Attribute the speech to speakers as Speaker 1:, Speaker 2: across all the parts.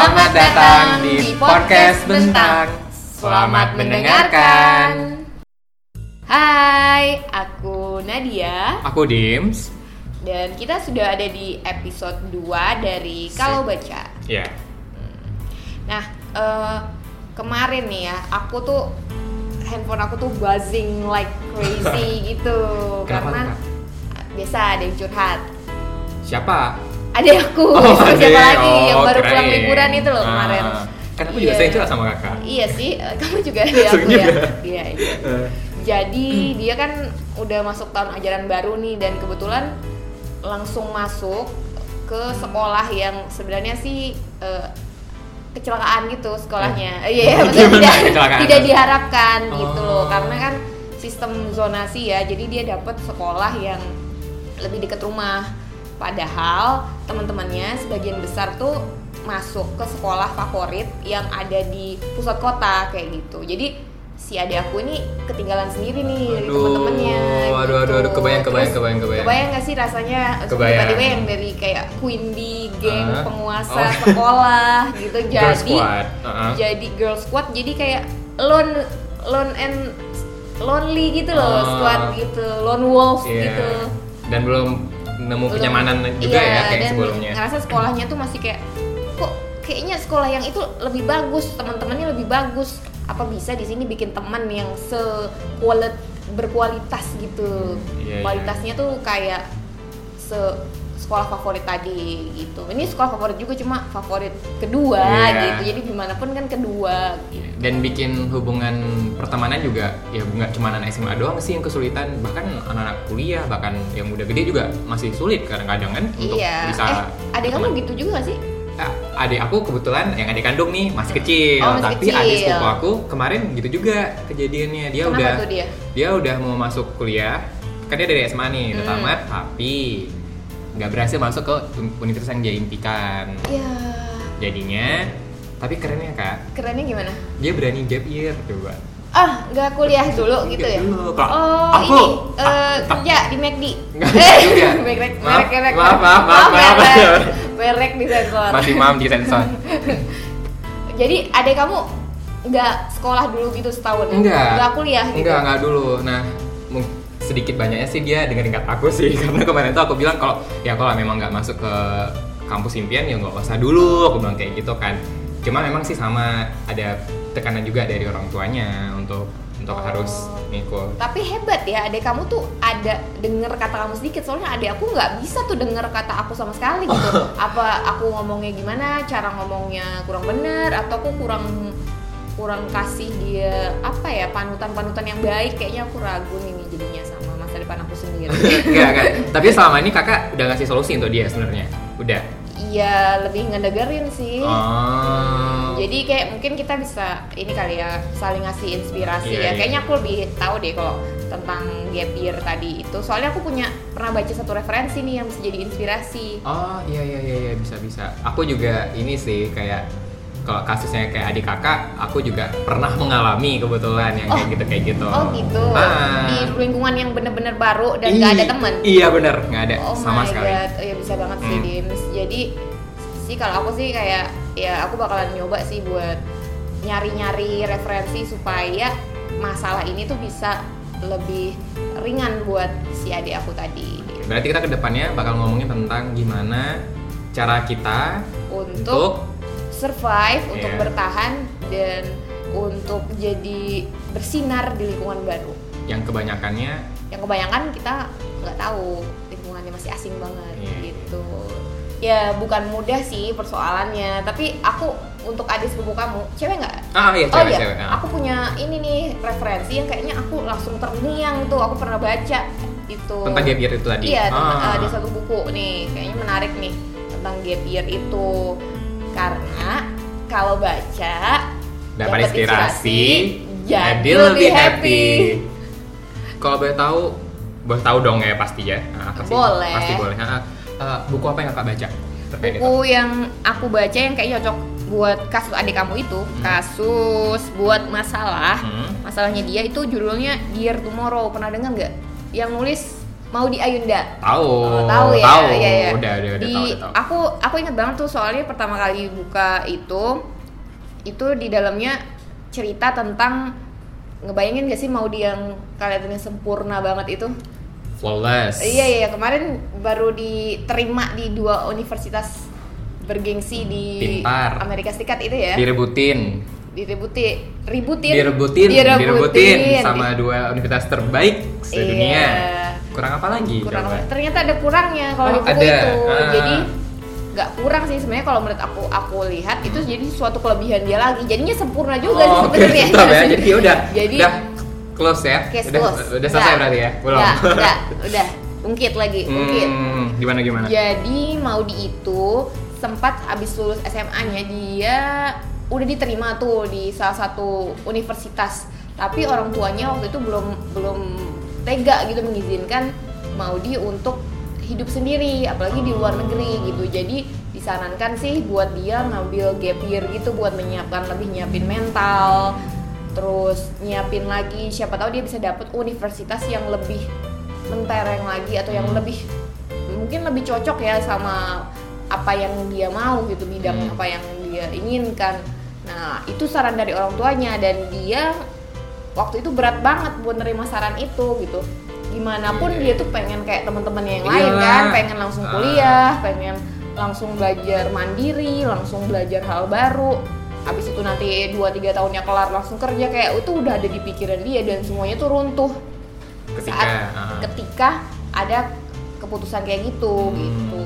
Speaker 1: datang di podcast Bentang. Selamat mendengarkan.
Speaker 2: Hai, aku Nadia
Speaker 1: Aku Dims.
Speaker 2: dan kita sudah ada di episode 2 dari Kalau Baca.
Speaker 1: Ya.
Speaker 2: Nah, eh, kemarin nih ya, aku tuh handphone aku tuh buzzing like crazy gitu
Speaker 1: Kenapa
Speaker 2: karena
Speaker 1: tuh,
Speaker 2: biasa ada yang curhat.
Speaker 1: Siapa?
Speaker 2: Ada aku,
Speaker 1: Ade.
Speaker 2: sama Uh, siapa lagi yang
Speaker 1: Oh,
Speaker 2: baru
Speaker 1: keren.
Speaker 2: pulang liburan itu loh
Speaker 1: Ah,
Speaker 2: kemarin.
Speaker 1: Kan aku juga
Speaker 2: Iya.
Speaker 1: sering curhat sama kakak.
Speaker 2: Iya sih, eh, kamu juga ada aku
Speaker 1: Sering
Speaker 2: ya.
Speaker 1: juga.
Speaker 2: Iya, iya.
Speaker 1: Eh,
Speaker 2: Jadi dia kan udah masuk tahun ajaran baru nih dan kebetulan langsung masuk ke sekolah yang sebenarnya sih eh, kecelakaan gitu sekolahnya. Eh, Iya, iya, maksudnya
Speaker 1: Gimana
Speaker 2: tidak
Speaker 1: kecelakaan?
Speaker 2: tidak diharapkan gitu
Speaker 1: Oh.
Speaker 2: loh karena kan sistem zonasi ya. Jadi dia dapat sekolah yang lebih dekat rumah. Padahal teman-temannya sebagian besar tuh masuk ke sekolah favorit yang ada di pusat kota kayak gitu. Jadi si adik aku ini ketinggalan sendiri nih dari
Speaker 1: Aduh,
Speaker 2: teman-temannya. gitu.
Speaker 1: aduh, aduh, aduh, kebayang, kebayang, kebayang, kebayang.
Speaker 2: gak sih rasanya eh,
Speaker 1: Kebayang.
Speaker 2: tiba-tiba yang dari kayak Queen Bee, geng
Speaker 1: Ah.
Speaker 2: penguasa
Speaker 1: Oh.
Speaker 2: sekolah gitu
Speaker 1: Girl
Speaker 2: jadi
Speaker 1: squad. Uh-uh.
Speaker 2: jadi girl squad jadi kayak lone lone and lonely gitu
Speaker 1: Ah.
Speaker 2: loh squad gitu lone wolf
Speaker 1: Iya.
Speaker 2: gitu
Speaker 1: Dan belum nemu
Speaker 2: Belum-
Speaker 1: kenyamanan juga
Speaker 2: Iya,
Speaker 1: ya kayak
Speaker 2: dan
Speaker 1: sebelumnya.
Speaker 2: ngerasa sekolahnya tuh masih kayak kok kayaknya sekolah yang itu lebih bagus teman-temannya lebih bagus apa bisa di sini bikin teman yang se berkualitas gitu
Speaker 1: Iya, iya.
Speaker 2: kualitasnya tuh kayak se sekolah favorit tadi gitu ini sekolah favorit juga cuma favorit kedua
Speaker 1: Iya.
Speaker 2: gitu jadi gimana pun kan kedua
Speaker 1: Iya, Dan bikin hubungan pertemanan juga ya nggak cuma anak SMA doang sih yang kesulitan, bahkan anak-anak kuliah, bahkan yang udah gede juga masih sulit kadang-kadang kan untuk
Speaker 2: iya
Speaker 1: bisa
Speaker 2: eh ada
Speaker 1: berteman.
Speaker 2: kamu gitu juga gak sih
Speaker 1: Ah, adik aku kebetulan yang adik kandung nih masih kecil,
Speaker 2: Oh, masih
Speaker 1: tapi
Speaker 2: kecil.
Speaker 1: adik sepupu aku kemarin gitu juga kejadiannya dia Ya
Speaker 2: Kenapa
Speaker 1: udah
Speaker 2: tuh dia?
Speaker 1: udah mau masuk kuliah, kan dia dari SMA nih udah
Speaker 2: Hmm.
Speaker 1: tamat, tapi nggak berhasil masuk ke un- universitas yang dia impikan.
Speaker 2: ya
Speaker 1: Jadinya, tapi kerennya kak,
Speaker 2: kerennya gimana
Speaker 1: dia berani gap year coba.
Speaker 2: Ah, nggak kuliah dulu gitu ya?
Speaker 1: Dulu, Kak.
Speaker 2: Oh,
Speaker 1: Aku-
Speaker 2: ini eh,
Speaker 1: ah,
Speaker 2: kerja di McD.
Speaker 1: Nggak
Speaker 2: Eh,
Speaker 1: juga.
Speaker 2: merek
Speaker 1: Maaf,
Speaker 2: merek merek.
Speaker 1: maaf, maaf, maaf, maaf.
Speaker 2: merek. Merek di sensor.
Speaker 1: Masih mam di sensor.
Speaker 2: Jadi adek kamu nggak sekolah dulu gitu setahun?
Speaker 1: Enggak.
Speaker 2: Nggak kuliah gitu?
Speaker 1: Enggak, enggak dulu. Nah, mung- sedikit banyaknya sih dia dengerin kata aku sih karena kemarin tuh aku bilang kalau ya kalau memang nggak masuk ke kampus impian ya nggak usah dulu aku bilang kayak gitu kan cuma memang sih sama ada tekanan juga dari orang tuanya untuk untuk
Speaker 2: Oh.
Speaker 1: harus ngikut
Speaker 2: Tapi hebat ya, adek kamu tuh ada denger kata kamu sedikit Soalnya adek aku nggak bisa tuh denger kata aku sama sekali gitu Apa aku ngomongnya gimana, cara ngomongnya kurang bener Atau aku kurang kurang kasih dia apa ya panutan-panutan yang baik Kayaknya aku ragu nih nih jadinya sama masa depan aku sendiri
Speaker 1: enggak kan tapi selama ini kakak udah ngasih solusi untuk dia sebenarnya udah
Speaker 2: Iya lebih ngedengerin sih
Speaker 1: Ah. oh
Speaker 2: Jadi kayak mungkin kita bisa ini kali ya saling ngasih inspirasi
Speaker 1: Iya,
Speaker 2: ya.
Speaker 1: iya.
Speaker 2: Kayaknya aku lebih tahu deh kalau tentang gap year tadi itu. Soalnya aku punya pernah baca satu referensi nih yang bisa jadi inspirasi.
Speaker 1: Oh iya iya iya iya, bisa bisa. Aku juga ini sih kayak kalau kasusnya kayak adik kakak, aku juga pernah mengalami kebetulan yang kayak
Speaker 2: Oh.
Speaker 1: gitu kayak gitu.
Speaker 2: Oh gitu.
Speaker 1: Ah.
Speaker 2: Di lingkungan yang bener-bener baru dan gak ada
Speaker 1: Ih,
Speaker 2: temen.
Speaker 1: Iya bener nggak ada
Speaker 2: Oh
Speaker 1: sama
Speaker 2: my
Speaker 1: sekali.
Speaker 2: god, oh, ya bisa banget sih
Speaker 1: Hmm.
Speaker 2: Dims. Jadi sih kalau aku sih kayak ya aku bakalan nyoba sih buat nyari-nyari referensi supaya masalah ini tuh bisa lebih ringan buat si adik aku tadi gitu.
Speaker 1: Berarti kita kedepannya bakal ngomongin tentang gimana cara kita
Speaker 2: untuk
Speaker 1: untuk
Speaker 2: survive, untuk
Speaker 1: Iya.
Speaker 2: bertahan dan untuk jadi bersinar di lingkungan baru.
Speaker 1: yang kebanyakannya
Speaker 2: Yang kebayangkan kita nggak tahu lingkungannya masih asing banget
Speaker 1: Iya.
Speaker 2: gitu. Ya bukan mudah sih persoalannya, tapi aku untuk adik sepupu kamu, cewek nggak?
Speaker 1: ah iya
Speaker 2: oh
Speaker 1: cewek
Speaker 2: iya,
Speaker 1: cewek. ah.
Speaker 2: aku punya ini nih referensi yang kayaknya aku langsung terngiang tuh, aku pernah baca gitu. itu.
Speaker 1: Tentang gap year itu tadi.
Speaker 2: Iya, tentang,
Speaker 1: Ah.
Speaker 2: eh, di satu buku nih, kayaknya menarik nih tentang gap year itu. Karena kalau baca
Speaker 1: dapat
Speaker 2: dapat
Speaker 1: inspirasi,
Speaker 2: inspirasi, jadi lebih happy.
Speaker 1: Kalau boleh tahu, boleh tahu dong ya pasti ya. Ah, pasti,
Speaker 2: Boleh.
Speaker 1: Pasti boleh. Ah, ah. Eh, buku apa yang kakak baca terkait itu?
Speaker 2: buku yang aku baca yang kayaknya cocok buat kasus adik kamu itu, kasus buat masalah.
Speaker 1: Hmm.
Speaker 2: Masalahnya dia itu judulnya Dear Tomorrow. Pernah dengar nggak? Yang nulis mau di Ayunda
Speaker 1: Tahu.
Speaker 2: Oh, tahu ya,
Speaker 1: Tahu.
Speaker 2: Iya, iya.
Speaker 1: Udah, udah, udah
Speaker 2: Di-
Speaker 1: tahu, udah tahu.
Speaker 2: Aku aku ingat banget tuh soalnya pertama kali buka itu itu di dalamnya cerita tentang ngebayangin gak sih mau dia yang kelihatannya sempurna banget itu?
Speaker 1: Flawless.
Speaker 2: Iya iya kemarin baru diterima di dua universitas bergengsi di
Speaker 1: Pintar.
Speaker 2: Amerika Serikat itu ya.
Speaker 1: Direbutin.
Speaker 2: Direbuti, ributin,
Speaker 1: Direbutin,
Speaker 2: direbutin,
Speaker 1: sama dua universitas terbaik sedunia.
Speaker 2: Iya.
Speaker 1: Kurang apa lagi?
Speaker 2: kurang
Speaker 1: coba?
Speaker 2: ternyata ada kurangnya kalau di
Speaker 1: Iya, Oh,
Speaker 2: buku
Speaker 1: ada.
Speaker 2: itu
Speaker 1: Ah.
Speaker 2: jadi nggak kurang sih sebenarnya kalau menurut aku aku lihat itu jadi suatu kelebihan dia lagi jadinya sempurna juga sih
Speaker 1: Hmm. Oh, oke,
Speaker 2: sebenarnya
Speaker 1: tetap ya. Jadi udah,
Speaker 2: jadi
Speaker 1: udah close ya.
Speaker 2: case
Speaker 1: udah,
Speaker 2: close
Speaker 1: udah selesai
Speaker 2: Nggak,
Speaker 1: berarti ya? Belum.
Speaker 2: nggak, nggak, udah ungkit lagi ungkit
Speaker 1: Hmm, gimana gimana?
Speaker 2: jadi mau di itu sempat abis lulus SMA nya dia udah diterima tuh di salah satu universitas tapi orang tuanya waktu itu belum belum tega gitu mengizinkan Maudi untuk hidup sendiri apalagi di luar negeri gitu jadi disarankan sih buat dia ngambil gap year gitu buat menyiapkan lebih nyiapin mental terus nyiapin lagi siapa tahu dia bisa dapet universitas yang lebih mentereng lagi atau yang
Speaker 1: Hmm.
Speaker 2: lebih mungkin lebih cocok ya sama apa yang dia mau gitu bidang
Speaker 1: Hmm.
Speaker 2: apa yang dia inginkan nah itu saran dari orang tuanya dan dia waktu itu berat banget buat nerima saran itu gitu gimana pun
Speaker 1: Iya.
Speaker 2: dia tuh pengen kayak teman-temannya yang lain
Speaker 1: Iyalah.
Speaker 2: kan pengen langsung
Speaker 1: Ah.
Speaker 2: kuliah pengen langsung belajar mandiri langsung belajar hal baru habis itu nanti 2-3 tahunnya kelar langsung kerja kayak itu udah ada di pikiran dia dan semuanya tuh runtuh
Speaker 1: Ketika
Speaker 2: saat
Speaker 1: ah.
Speaker 2: ketika ada keputusan kayak gitu
Speaker 1: Hmm.
Speaker 2: gitu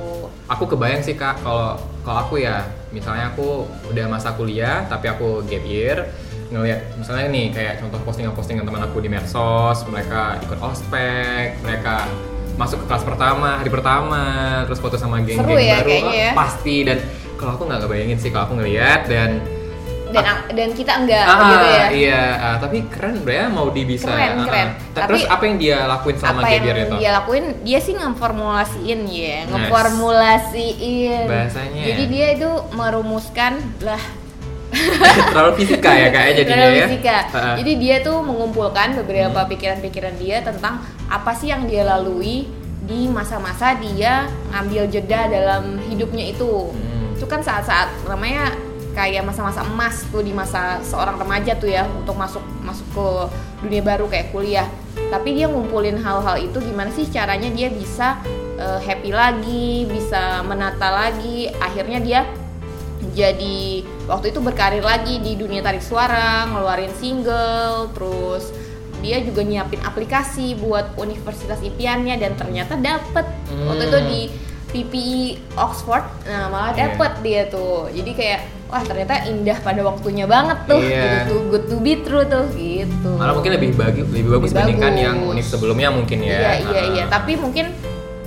Speaker 1: aku kebayang sih kak kalau kalau aku ya misalnya aku udah masa kuliah tapi aku gap year ngelihat misalnya nih kayak contoh postingan-postingan teman aku di medsos mereka ikut ospek mereka masuk ke kelas pertama hari pertama terus foto sama geng-geng
Speaker 2: Seru ya,
Speaker 1: baru
Speaker 2: kayaknya ya.
Speaker 1: pasti dan kalau aku nggak kebayangin sih kalau aku ngelihat dan
Speaker 2: dan dan kita enggak
Speaker 1: ah
Speaker 2: gitu ya
Speaker 1: iya ah, tapi keren bro ya mau di bisa Ah,
Speaker 2: Keren,
Speaker 1: ah.
Speaker 2: keren.
Speaker 1: Ta- terus
Speaker 2: Tapi-
Speaker 1: apa yang dia lakuin selama
Speaker 2: apa
Speaker 1: gap
Speaker 2: yang
Speaker 1: year itu
Speaker 2: dia lakuin dia sih ngeformulasiin ya
Speaker 1: Nice.
Speaker 2: ngeformulasiin
Speaker 1: Bahasanya.
Speaker 2: jadi dia itu merumuskan lah
Speaker 1: terlalu fisika ya kayaknya jadinya
Speaker 2: Terlalu
Speaker 1: ya
Speaker 2: fisika.
Speaker 1: Ah, Hmm. ah.
Speaker 2: Jadi dia tuh mengumpulkan beberapa pikiran-pikiran dia tentang apa sih yang dia lalui di masa-masa dia ngambil jeda dalam hidupnya itu.
Speaker 1: Hmm.
Speaker 2: Itu kan saat-saat namanya kayak masa-masa emas tuh di masa seorang remaja tuh ya untuk masuk masuk ke dunia baru kayak kuliah. Tapi dia ngumpulin hal-hal itu gimana sih caranya dia bisa eh, happy lagi, bisa menata lagi. Akhirnya dia jadi waktu itu berkarir lagi di dunia tarik suara, ngeluarin single, terus dia juga nyiapin aplikasi buat universitas impiannya dan ternyata dapet waktu
Speaker 1: Hmm.
Speaker 2: itu di PPI E Oxford, nah malah
Speaker 1: Iya.
Speaker 2: dapet dia tuh, jadi kayak wah ternyata indah pada waktunya banget tuh,
Speaker 1: Iya.
Speaker 2: gitu, good to be true tuh gitu.
Speaker 1: Malah mungkin lebih bagi, lebih bagus
Speaker 2: Lebih
Speaker 1: dibandingkan
Speaker 2: bagus.
Speaker 1: yang univ sebelumnya mungkin ya.
Speaker 2: Iya iya
Speaker 1: Ah.
Speaker 2: iya. Tapi mungkin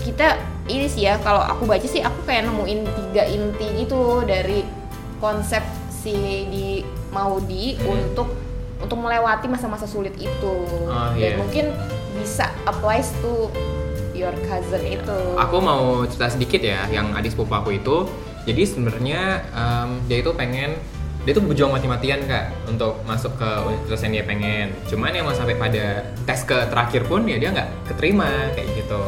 Speaker 2: kita ini sih ya kalau aku baca sih aku kayak nemuin tiga inti gitu dari konsep si di Maudi
Speaker 1: Hmm.
Speaker 2: untuk untuk melewati masa-masa sulit itu
Speaker 1: Ah, iya.
Speaker 2: dan mungkin bisa applies to your cousin itu.
Speaker 1: Aku mau cerita sedikit ya yang adik sepupu aku itu. Jadi sebenarnya em, dia itu pengen dia itu berjuang mati-matian kak untuk masuk ke universitas yang dia pengen. Cuman yang mau sampai pada tes ke terakhir pun ya dia nggak keterima kayak gitu.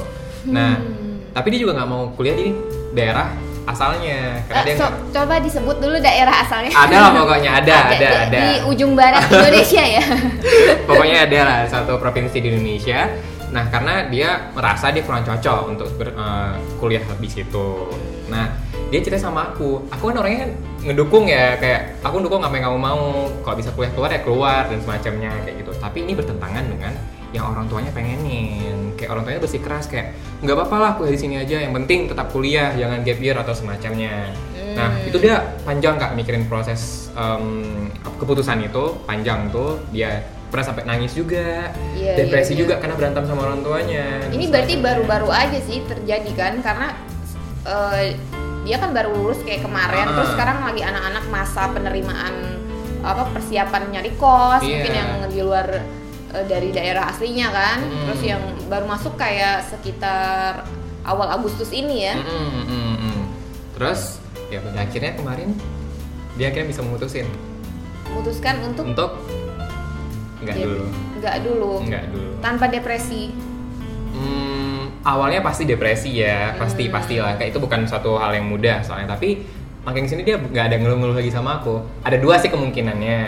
Speaker 1: Nah,
Speaker 2: Hmm.
Speaker 1: tapi dia juga nggak mau kuliah di daerah asalnya karena
Speaker 2: Eh,
Speaker 1: dia
Speaker 2: so-
Speaker 1: nggak-
Speaker 2: coba disebut dulu daerah asalnya.
Speaker 1: ada lah pokoknya ada ada
Speaker 2: di,
Speaker 1: ada.
Speaker 2: di ujung barat Indonesia ya.
Speaker 1: pokoknya ada lah satu provinsi di Indonesia nah karena dia merasa dia kurang cocok untuk ber- eh, kuliah di situ nah dia cerita sama aku aku kan orangnya ngedukung ya kayak aku dukung apa yang kamu mau kalau bisa kuliah keluar ya keluar dan semacamnya kayak gitu tapi ini bertentangan dengan yang orang tuanya pengenin kayak orang tuanya bersikeras kayak nggak apa-apa lah kuliah di sini aja yang penting tetap kuliah jangan gap year atau semacamnya nah
Speaker 2: Hmm.
Speaker 1: itu dia panjang kak mikirin proses em, keputusan itu panjang tuh dia pernah sampai nangis juga
Speaker 2: Iya,
Speaker 1: depresi
Speaker 2: iya, iya.
Speaker 1: juga karena berantem sama orang tuanya gitu.
Speaker 2: Ini berarti baru-baru aja sih terjadi kan karena eh, dia kan baru lulus kayak kemarin
Speaker 1: Ah.
Speaker 2: terus sekarang lagi anak-anak masa penerimaan apa persiapan nyari kos
Speaker 1: Iya.
Speaker 2: mungkin yang di luar eh, dari daerah aslinya kan
Speaker 1: Mm.
Speaker 2: terus yang baru masuk kayak sekitar awal Agustus ini ya
Speaker 1: Mm-mm, mm-mm, mm. terus ya pada akhirnya kemarin dia akhirnya bisa memutusin
Speaker 2: memutuskan untuk
Speaker 1: untuk nggak
Speaker 2: jadi-
Speaker 1: dulu
Speaker 2: nggak dulu
Speaker 1: nggak dulu
Speaker 2: tanpa depresi
Speaker 1: Hmm, awalnya pasti depresi ya
Speaker 2: Hmm.
Speaker 1: pasti pastilah kayak itu bukan suatu hal yang mudah soalnya tapi makin kesini dia nggak ada ngeluh-ngeluh lagi sama aku ada dua sih kemungkinannya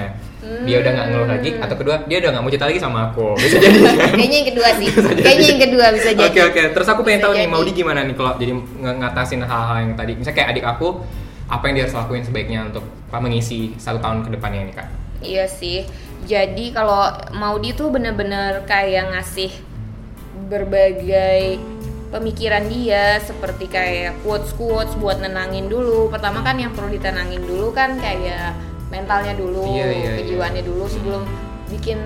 Speaker 1: dia udah nggak ngeluh lagi atau kedua dia udah nggak mau cerita lagi sama aku bisa jadi kan?
Speaker 2: Kayaknya yang kedua sih. Kayaknya yang kedua bisa jadi.
Speaker 1: Oke oke. Terus aku pengen
Speaker 2: Bisa
Speaker 1: tahu nih
Speaker 2: jadi.
Speaker 1: mau di gimana nih kalau jadi nge- ngatasin hal-hal yang tadi. Misalnya kayak adik aku apa yang dia harus lakuin sebaiknya untuk apa, mengisi satu tahun ke depannya ini kak?
Speaker 2: Iya sih. Jadi kalau Maudi tuh bener-bener kayak ngasih berbagai pemikiran dia seperti kayak quotes quotes buat nenangin dulu. Pertama kan yang perlu ditenangin dulu kan kayak mentalnya dulu,
Speaker 1: Iya, iya, iya.
Speaker 2: kejiwaannya dulu sebelum bikin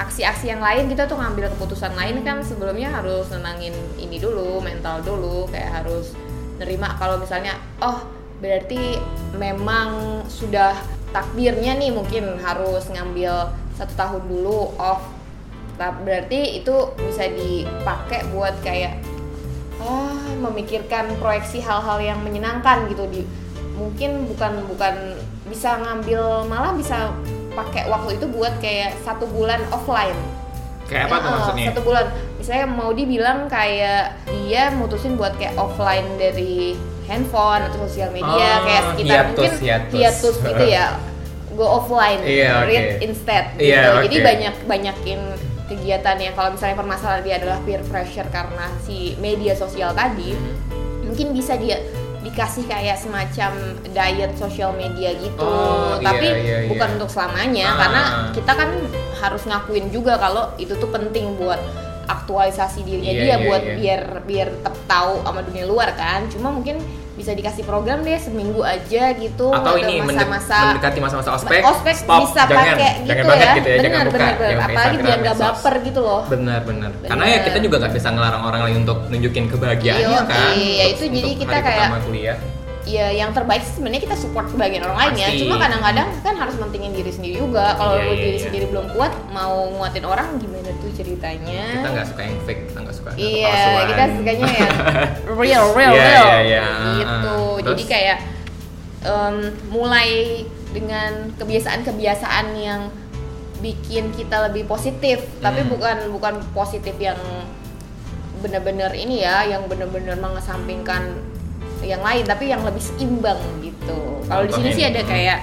Speaker 2: aksi-aksi yang lain kita tuh ngambil keputusan lain kan sebelumnya harus nenangin ini dulu, mental dulu kayak harus nerima kalau misalnya oh berarti memang sudah takdirnya nih mungkin harus ngambil satu tahun dulu off Ta- berarti itu bisa dipakai buat kayak ah, memikirkan proyeksi hal-hal yang menyenangkan gitu di mungkin bukan bukan bisa ngambil malah bisa pakai waktu itu buat kayak satu bulan offline
Speaker 1: Kayak apa tuh
Speaker 2: Heeh,
Speaker 1: maksudnya?
Speaker 2: Eh, Oh, Satu bulan. Misalnya mau dibilang kayak dia mutusin buat kayak offline dari handphone atau sosial
Speaker 1: Ah,
Speaker 2: media kayak sekitar
Speaker 1: hiatus,
Speaker 2: mungkin
Speaker 1: hiatus.
Speaker 2: gitu ya. Go offline,
Speaker 1: Iya, oke.
Speaker 2: read instead gitu.
Speaker 1: Iya,
Speaker 2: Jadi
Speaker 1: oke.
Speaker 2: banyak banyakin kegiatan yang kalau misalnya permasalahan dia adalah peer pressure karena si media sosial tadi,
Speaker 1: Hmm.
Speaker 2: mungkin bisa dia dikasih kayak semacam diet sosial media gitu.
Speaker 1: Oh, iya,
Speaker 2: Tapi
Speaker 1: iya, iya.
Speaker 2: bukan untuk selamanya
Speaker 1: Ah.
Speaker 2: karena kita kan harus ngakuin juga kalau itu tuh penting buat aktualisasi dirinya
Speaker 1: Iya,
Speaker 2: dia
Speaker 1: iya,
Speaker 2: buat
Speaker 1: iya.
Speaker 2: biar biar tetap tahu sama dunia luar kan cuma mungkin bisa dikasih program deh seminggu aja gitu
Speaker 1: Atau
Speaker 2: ada
Speaker 1: ini mendek-
Speaker 2: masa-masa
Speaker 1: mendekati masa-masa ospek,
Speaker 2: ospek
Speaker 1: stop,
Speaker 2: bisa
Speaker 1: jangan,
Speaker 2: pakai gitu
Speaker 1: jangan banget
Speaker 2: ya,
Speaker 1: gitu ya,
Speaker 2: benar
Speaker 1: jangan buka,
Speaker 2: benar
Speaker 1: jangan
Speaker 2: benar
Speaker 1: pakai
Speaker 2: apalagi biar
Speaker 1: Instagram,
Speaker 2: nggak
Speaker 1: medsos.
Speaker 2: baper gitu loh
Speaker 1: Benar benar. Karena ya
Speaker 2: Benar.
Speaker 1: kita juga nggak bisa ngelarang orang lain untuk nunjukin kebahagiaannya
Speaker 2: Iya,
Speaker 1: kan.
Speaker 2: iya,
Speaker 1: Untuk-
Speaker 2: itu jadi
Speaker 1: untuk
Speaker 2: kita
Speaker 1: hari
Speaker 2: kayak-
Speaker 1: pertama kuliah.
Speaker 2: ya yang terbaik sih sebenarnya kita support sebagian orang lain ya
Speaker 1: Pasti.
Speaker 2: cuma kadang-kadang kan harus mentingin diri sendiri juga kalau
Speaker 1: Iya,
Speaker 2: lu
Speaker 1: iya,
Speaker 2: diri
Speaker 1: iya.
Speaker 2: sendiri belum kuat mau nguatin orang gimana tuh ceritanya
Speaker 1: Kita nggak suka yang fake, kita nggak suka yang
Speaker 2: Iya,
Speaker 1: kepalsuan.
Speaker 2: kita sukanya ya real, real,
Speaker 1: Iya,
Speaker 2: real.
Speaker 1: iya, iya.
Speaker 2: Gitu.
Speaker 1: Terus?
Speaker 2: Jadi kayak em, mulai dengan kebiasaan-kebiasaan yang bikin kita lebih positif, tapi
Speaker 1: Hmm.
Speaker 2: bukan bukan positif yang bener-bener ini ya, yang bener-bener mengesampingkan yang lain, tapi yang lebih seimbang gitu. Kalau di sini
Speaker 1: Contohnya
Speaker 2: sih
Speaker 1: nih.
Speaker 2: ada kayak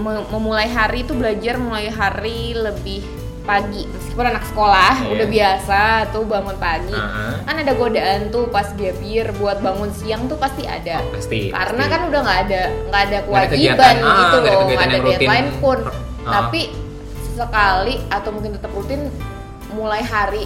Speaker 2: me- memulai hari itu belajar mulai hari lebih pagi meskipun anak sekolah
Speaker 1: Iya.
Speaker 2: udah biasa tuh bangun pagi
Speaker 1: Ah,
Speaker 2: kan ada godaan tuh pas gap year buat bangun siang tuh pasti ada
Speaker 1: pasti.
Speaker 2: karena
Speaker 1: pasti.
Speaker 2: kan udah nggak ada nggak ada
Speaker 1: Nggak ada
Speaker 2: kewajiban
Speaker 1: kegiatan, ah,
Speaker 2: gitu
Speaker 1: nggak ada
Speaker 2: loh
Speaker 1: kegiatan
Speaker 2: nggak ada
Speaker 1: yang rutin.
Speaker 2: deadline pun
Speaker 1: Ah.
Speaker 2: tapi sekali atau mungkin tetap rutin mulai hari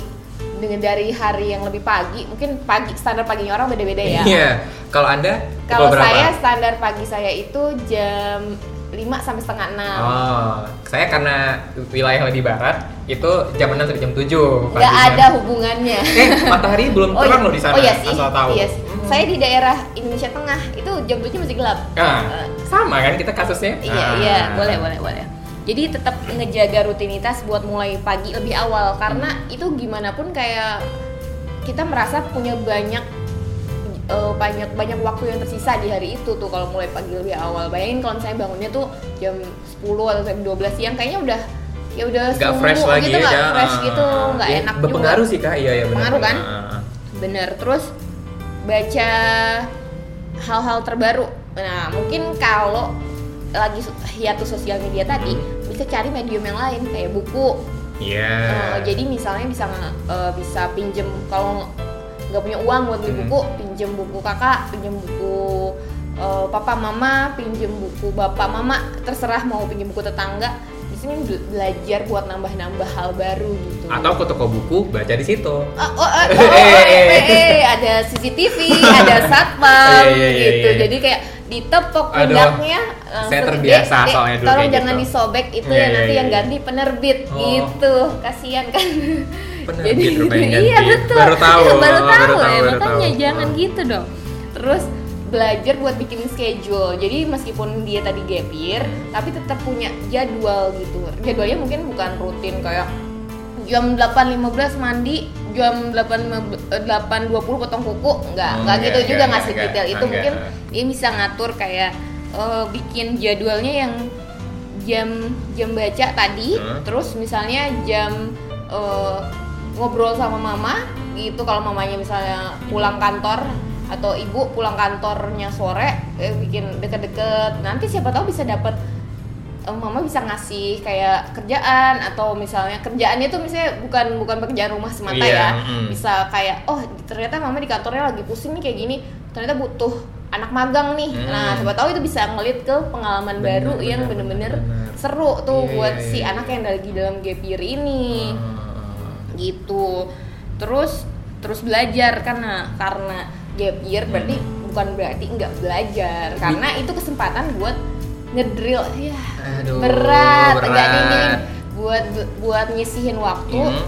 Speaker 2: dengan dari hari yang lebih pagi mungkin pagi standar paginya orang beda-beda ya
Speaker 1: Iya. Kalau Anda pukul
Speaker 2: kalau
Speaker 1: berapa?
Speaker 2: saya standar pagi saya itu jam 5 sampai setengah enam
Speaker 1: Oh, saya karena wilayah lebih barat itu jam 6 sampai jam 7
Speaker 2: nggak
Speaker 1: paginya.
Speaker 2: ada hubungannya
Speaker 1: Eh, matahari belum terang
Speaker 2: iya.
Speaker 1: loh di sana.
Speaker 2: Oh iya sih.
Speaker 1: Asal tahu. Hmm.
Speaker 2: Iya sih. Saya di daerah Indonesia Tengah itu jam 7 masih gelap.
Speaker 1: Nah,
Speaker 2: Eh,
Speaker 1: sama kan kita kasusnya?
Speaker 2: iya
Speaker 1: Ah.
Speaker 2: iya, boleh boleh boleh. Jadi tetap ngejaga rutinitas buat mulai pagi lebih awal karena
Speaker 1: Hmm.
Speaker 2: itu gimana pun kayak kita merasa punya banyak eh, banyak banyak waktu yang tersisa di hari itu tuh kalau mulai pagi lebih awal. Bayangin kalau saya bangunnya tuh jam 10 atau jam 12 siang kayaknya udah ya udah
Speaker 1: Nggak
Speaker 2: subuh
Speaker 1: fresh lagi
Speaker 2: gitu,
Speaker 1: ya.
Speaker 2: nggak
Speaker 1: ya.
Speaker 2: fresh gitu, nggak
Speaker 1: Iya,
Speaker 2: enak
Speaker 1: Berpengaruh
Speaker 2: juga.
Speaker 1: sih Kak, iya iya benar.
Speaker 2: Pengaruh kan?
Speaker 1: Ah.
Speaker 2: Bener, terus baca hal-hal terbaru. Nah, mungkin kalau lagi su- hiatus sosial media tadi,
Speaker 1: Hmm.
Speaker 2: bisa cari medium yang lain kayak buku.
Speaker 1: Iya.
Speaker 2: Eh, jadi misalnya bisa nge- eh, bisa pinjem kalau nggak punya uang buat beli
Speaker 1: Hmm.
Speaker 2: buku, pinjem buku kakak, pinjem buku eh, papa mama, pinjem buku bapak mama, terserah mau pinjem buku tetangga. Di sini bel- belajar buat nambah-nambah hal baru gitu.
Speaker 1: Atau ke toko buku baca di situ.
Speaker 2: Oh, oh, oh, oh, oh, eh, eh, eh, ada CCTV, ada
Speaker 1: Iya, iya,
Speaker 2: satpam
Speaker 1: iya,
Speaker 2: gitu.
Speaker 1: iya.
Speaker 2: Jadi kayak ditepok
Speaker 1: Aduh,
Speaker 2: pundaknya langsung
Speaker 1: saya
Speaker 2: di-
Speaker 1: terbiasa
Speaker 2: "Dek,
Speaker 1: soalnya dulu
Speaker 2: Tolong
Speaker 1: kayak
Speaker 2: jangan
Speaker 1: gitu."
Speaker 2: disobek itu
Speaker 1: Iya,
Speaker 2: ya
Speaker 1: iya,
Speaker 2: nanti
Speaker 1: iya,
Speaker 2: yang
Speaker 1: iya.
Speaker 2: ganti penerbit
Speaker 1: Oh.
Speaker 2: gitu. Kasihan kan.
Speaker 1: Penerbit rupanya yang
Speaker 2: Iya,
Speaker 1: ganti.
Speaker 2: betul.
Speaker 1: Baru tahu,
Speaker 2: Iya, baru
Speaker 1: baru
Speaker 2: tahu.
Speaker 1: tahu,
Speaker 2: ya,
Speaker 1: baru
Speaker 2: Makanya
Speaker 1: tahu.
Speaker 2: jangan
Speaker 1: Oh.
Speaker 2: gitu dong. Terus belajar buat bikin schedule. Jadi meskipun dia tadi gap year, tapi tetap punya jadwal gitu. Jadwalnya mungkin bukan rutin kayak jam 8.15 mandi, jam eh, 8.15 8.20 potong kuku,
Speaker 1: Hmm,
Speaker 2: enggak, enggak
Speaker 1: enggak,
Speaker 2: gitu
Speaker 1: enggak,
Speaker 2: juga
Speaker 1: enggak,
Speaker 2: ngasih
Speaker 1: enggak,
Speaker 2: detail. Itu
Speaker 1: enggak.
Speaker 2: mungkin dia bisa ngatur kayak eh, bikin jadwalnya yang jam jam baca tadi,
Speaker 1: Hmm.
Speaker 2: terus misalnya jam eh, ngobrol sama mama gitu kalau mamanya misalnya pulang kantor atau ibu pulang kantornya sore eh, bikin deket-deket nanti siapa tahu bisa dapat eh, mama bisa ngasih kayak kerjaan atau misalnya kerjaannya tuh misalnya bukan bukan pekerjaan rumah semata
Speaker 1: Iya,
Speaker 2: ya
Speaker 1: mm.
Speaker 2: bisa kayak oh ternyata mama di kantornya lagi pusing nih kayak gini ternyata butuh anak magang nih
Speaker 1: Mm.
Speaker 2: nah siapa tahu itu bisa ngelit ke
Speaker 1: Bener,
Speaker 2: pengalaman baru yang
Speaker 1: bener,
Speaker 2: bener-bener
Speaker 1: bener.
Speaker 2: seru tuh
Speaker 1: Iya,
Speaker 2: buat
Speaker 1: iya,
Speaker 2: si
Speaker 1: iya,
Speaker 2: anak
Speaker 1: iya.
Speaker 2: yang lagi dalam gap year
Speaker 1: Ah.
Speaker 2: ini
Speaker 1: Hmm.
Speaker 2: gitu terus terus belajar karena karena gap year berarti
Speaker 1: Hmm.
Speaker 2: bukan berarti nggak belajar karena itu kesempatan buat ngedrill ya
Speaker 1: Aduh,
Speaker 2: berat, nggak
Speaker 1: berat.
Speaker 2: gini buat buat nyisihin waktu
Speaker 1: Mhm.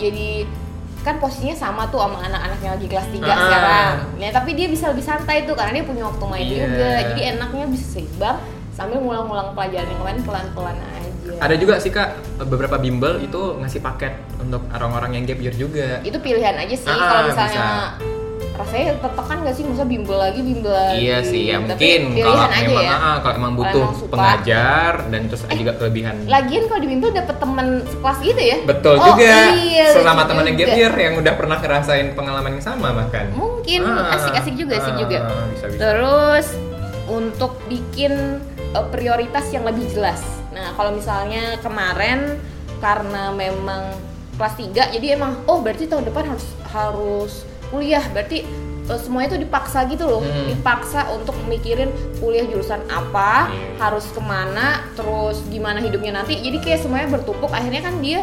Speaker 2: jadi kan posisinya sama tuh sama anak-anak yang lagi kelas 3
Speaker 1: Ah.
Speaker 2: sekarang ya tapi dia bisa lebih santai tuh karena dia punya waktu main
Speaker 1: Iya.
Speaker 2: juga jadi enaknya bisa seimbang sambil ngulang-ngulang pelajaran yang lain pelan-pelan aja
Speaker 1: Ada juga sih kak beberapa bimbel itu ngasih paket untuk orang-orang yang gap year juga.
Speaker 2: itu pilihan aja sih
Speaker 1: Ah,
Speaker 2: kalau misalnya
Speaker 1: bisa.
Speaker 2: rasanya tertekan gak sih masa bimbel lagi bimbel lagi
Speaker 1: Iya sih, ya
Speaker 2: Tapi
Speaker 1: mungkin
Speaker 2: pilihan
Speaker 1: kalau
Speaker 2: aja
Speaker 1: memang
Speaker 2: ya
Speaker 1: ah, kalau emang
Speaker 2: Kalau
Speaker 1: butuh
Speaker 2: emang suka. Eh,
Speaker 1: pengajar dan terus juga kelebihan.
Speaker 2: lagian kalau di bimbel dapet temen sekelas gitu ya
Speaker 1: Betul
Speaker 2: Oh,
Speaker 1: juga.
Speaker 2: iya,
Speaker 1: Sesama
Speaker 2: lucu
Speaker 1: teman yang gap
Speaker 2: juga.
Speaker 1: year yang udah pernah ngerasain pengalaman yang sama bahkan.
Speaker 2: mungkin
Speaker 1: Ah,
Speaker 2: asik-asik juga asik
Speaker 1: ah,
Speaker 2: juga Eh,
Speaker 1: Bisa bisa.
Speaker 2: terus untuk bikin eh, prioritas yang lebih jelas nah kalau misalnya kemarin karena memang kelas 3 jadi emang oh berarti tahun depan harus harus kuliah berarti eh, semuanya itu dipaksa gitu loh
Speaker 1: Hmm.
Speaker 2: dipaksa untuk mikirin kuliah jurusan apa
Speaker 1: Iya.
Speaker 2: harus kemana terus gimana hidupnya nanti jadi kayak semuanya bertumpuk akhirnya kan dia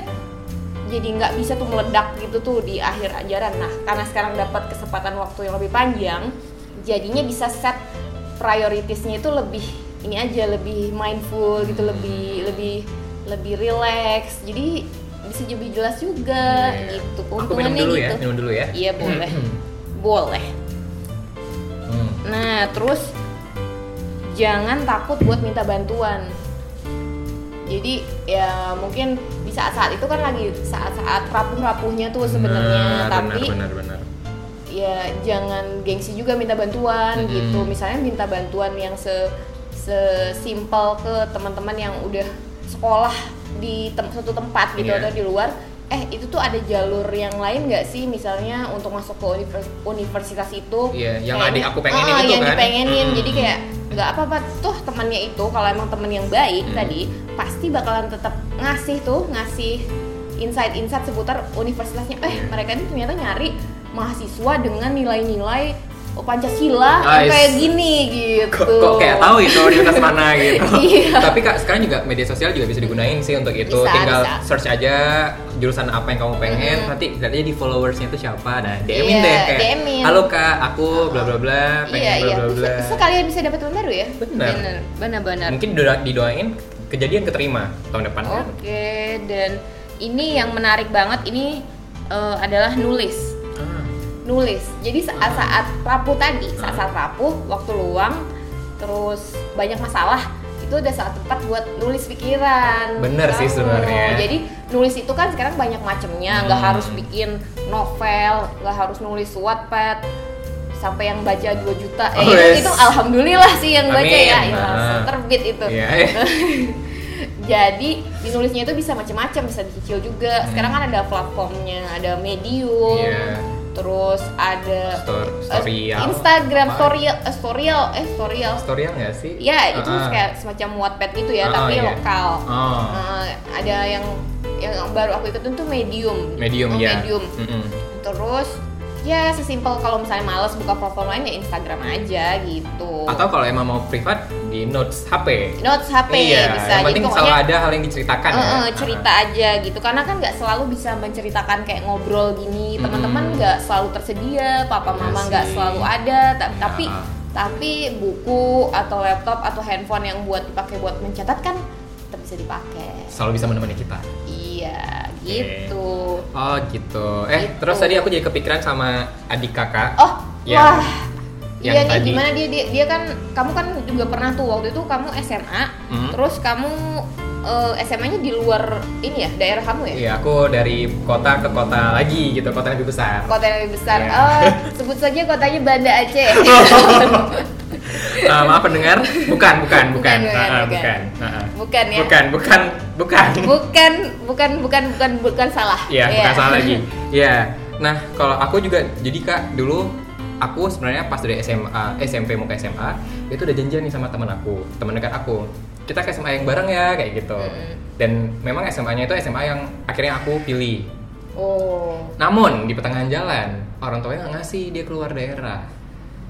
Speaker 2: jadi nggak bisa tuh meledak gitu tuh di akhir ajaran nah karena sekarang dapat kesempatan waktu yang lebih panjang jadinya bisa set prioritasnya itu lebih ini aja lebih mindful gitu lebih lebih lebih relax jadi bisa lebih jelas juga
Speaker 1: Iya.
Speaker 2: gitu
Speaker 1: Aku minum dulu ya,
Speaker 2: gitu
Speaker 1: minum dulu ya.
Speaker 2: iya boleh boleh
Speaker 1: Hmm.
Speaker 2: Nah, terus jangan takut buat minta bantuan. Jadi ya mungkin di saat-saat itu kan lagi saat-saat rapuh-rapuhnya tuh sebenarnya,
Speaker 1: Benar,
Speaker 2: tapi
Speaker 1: benar benar benar.
Speaker 2: ya jangan gengsi juga minta bantuan
Speaker 1: Mm-mm.
Speaker 2: gitu. Misalnya minta bantuan yang se sesimpel ke teman-teman yang udah sekolah di tem- suatu tempat gitu
Speaker 1: Iya.
Speaker 2: atau di luar. Eh, itu tuh ada jalur yang lain nggak sih misalnya untuk masuk ke univers- universitas itu?
Speaker 1: Iya, yang
Speaker 2: Kayaknya-
Speaker 1: adik aku pengenin
Speaker 2: Ah,
Speaker 1: itu
Speaker 2: yang
Speaker 1: kan.
Speaker 2: dipengenin.
Speaker 1: Mm.
Speaker 2: Jadi kayak nggak apa-apa tuh temannya itu kalau emang temen yang baik
Speaker 1: Mm.
Speaker 2: tadi pasti bakalan tetap ngasih tuh ngasih insight-insight seputar universitasnya. Eh,
Speaker 1: Iya.
Speaker 2: mereka ini ternyata nyari mahasiswa dengan nilai-nilai "Oh, Pancasila yang
Speaker 1: Ais.
Speaker 2: kayak gini gitu.
Speaker 1: Kok, kok kayak tahu ya? itu universitas mana gitu.
Speaker 2: Iya.
Speaker 1: Tapi kak sekarang juga media sosial juga bisa digunain sih untuk itu.
Speaker 2: Bisa,
Speaker 1: Tinggal
Speaker 2: bisa.
Speaker 1: search aja jurusan apa yang kamu pengen.
Speaker 2: Mm.
Speaker 1: Nanti lihat aja di followersnya itu siapa. Nah DM-in
Speaker 2: Iya,
Speaker 1: deh kayak.
Speaker 2: DM-in.
Speaker 1: Halo kak, aku bla bla bla. Pengen
Speaker 2: Iya,
Speaker 1: bla
Speaker 2: iya.
Speaker 1: bla bla.
Speaker 2: Se- Sekalian bisa dapat teman baru ya?
Speaker 1: Benar.
Speaker 2: Benar-benar.
Speaker 1: Mungkin dido- didoain kejadian keterima tahun depan. kan?
Speaker 2: Oke, dan ini yang menarik banget ini eh, adalah nulis.
Speaker 1: Ah.
Speaker 2: nulis jadi saat saat rapuh tadi
Speaker 1: Hmm.
Speaker 2: saat saat rapuh waktu luang terus banyak masalah itu udah saat tepat buat nulis pikiran
Speaker 1: Bener sih
Speaker 2: Kamu.
Speaker 1: sebenarnya.
Speaker 2: jadi nulis itu kan sekarang banyak macamnya nggak
Speaker 1: Hmm.
Speaker 2: harus bikin novel nggak harus nulis wattpad sampai yang baca 2 juta eh,
Speaker 1: Oh,
Speaker 2: itu,
Speaker 1: yes.
Speaker 2: itu alhamdulillah sih yang baca
Speaker 1: Amin.
Speaker 2: ya, ya langsung
Speaker 1: Ah.
Speaker 2: terbit itu
Speaker 1: Iya.
Speaker 2: jadi dinulisnya itu bisa macam-macam bisa dicicil
Speaker 1: Hmm.
Speaker 2: juga sekarang kan ada platformnya ada medium
Speaker 1: Iya.
Speaker 2: terus ada
Speaker 1: Stor
Speaker 2: eh,
Speaker 1: storyal.
Speaker 2: Instagram
Speaker 1: Apa?
Speaker 2: storyal eh, storyal eh storyal
Speaker 1: Storyal nggak sih?
Speaker 2: ya itu
Speaker 1: Ah, ah.
Speaker 2: kayak semacam Wattpad gitu ya
Speaker 1: Ah,
Speaker 2: tapi
Speaker 1: iya.
Speaker 2: lokal
Speaker 1: Oh.
Speaker 2: Eh, ada yang yang baru aku ikutin tuh medium
Speaker 1: Medium
Speaker 2: Oh,
Speaker 1: ya.
Speaker 2: medium
Speaker 1: Mm-mm.
Speaker 2: terus ya sesimpel kalau misalnya males buka platform lain ya Instagram aja gitu
Speaker 1: Atau kalau emang mau privat di notes HP.
Speaker 2: notes HP
Speaker 1: iya,
Speaker 2: ya, bisa
Speaker 1: yang
Speaker 2: jadi
Speaker 1: penting selalu
Speaker 2: pokoknya
Speaker 1: ada hal yang diceritakan ya.
Speaker 2: Eh, eh, cerita aja gitu karena kan nggak selalu bisa menceritakan kayak ngobrol gini
Speaker 1: Mm-mm.
Speaker 2: teman-teman nggak selalu tersedia papa
Speaker 1: Iya
Speaker 2: mama
Speaker 1: sih.
Speaker 2: nggak selalu ada ta-
Speaker 1: Iya.
Speaker 2: tapi tapi buku atau laptop atau handphone yang buat dipakai buat mencatat kan tetap bisa
Speaker 1: Ah,
Speaker 2: dipakai
Speaker 1: selalu bisa menemani kita.
Speaker 2: iya
Speaker 1: Oke.
Speaker 2: gitu
Speaker 1: Oh gitu. Eh
Speaker 2: Gitu.
Speaker 1: terus tadi aku jadi kepikiran sama adik kakak.
Speaker 2: oh
Speaker 1: Yang-
Speaker 2: wah
Speaker 1: yang
Speaker 2: Iya nih
Speaker 1: tadi.
Speaker 2: gimana dia, dia dia kan kamu kan juga pernah tuh waktu itu kamu SMA
Speaker 1: Hmm.
Speaker 2: terus kamu eh, SMA-nya di luar ini ya daerah kamu ya
Speaker 1: Iya aku dari kota ke kota lagi gitu kota yang lebih besar.
Speaker 2: kota yang lebih besar.
Speaker 1: Iya. Oh,
Speaker 2: Oh, sebut saja kotanya Banda Aceh.
Speaker 1: Eh, maaf pendengar, bukan bukan bukan
Speaker 2: Bukan,
Speaker 1: Ah, ah,
Speaker 2: bukan, bukan.
Speaker 1: bukan Ah, ah.
Speaker 2: Bukan ya?
Speaker 1: bukan bukan bukan.
Speaker 2: Iya, Bukan, bukan, bukan, bukan, bukan salah.
Speaker 1: Iya bukan salah lagi. Iya. Nah, kalau aku juga jadi Kak dulu aku sebenarnya pas dari SMA SMP mau ke SMA itu udah janjian nih sama temen aku, teman dekat aku. Kita ke SMA yang bareng ya kayak gitu.
Speaker 2: Mm.
Speaker 1: Dan memang SMA-nya itu SMA yang akhirnya aku pilih.
Speaker 2: Oh.
Speaker 1: Namun di pertengahan jalan orang tuanya nggak ngasih dia keluar daerah.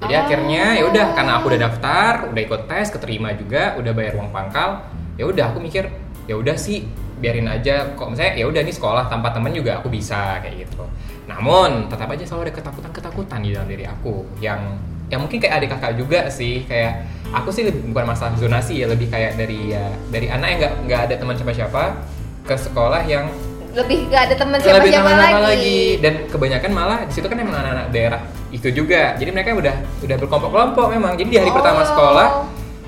Speaker 1: Jadi
Speaker 2: Oh.
Speaker 1: akhirnya ya udah karena aku udah daftar, udah ikut tes, keterima juga, udah bayar uang pangkal, ya udah aku mikir ya udah sih biarin aja kok misalnya ya udah nih sekolah tanpa temen juga aku bisa kayak gitu. Namun tetap aja selalu ada ketakutan-ketakutan di dalam diri aku yang yang mungkin kayak adik kakak juga sih kayak aku sih lebih- bukan masalah zonasi ya lebih kayak dari ya, dari anak yang nggak nggak ada teman siapa-siapa ke sekolah yang
Speaker 2: Lebih gak ada teman
Speaker 1: lebih
Speaker 2: siapa-siapa
Speaker 1: teman-teman
Speaker 2: lagi.
Speaker 1: dan kebanyakan malah di situ kan emang anak-anak daerah itu juga jadi mereka udah udah berkelompok-kelompok memang jadi di hari pertama
Speaker 2: Oh.
Speaker 1: sekolah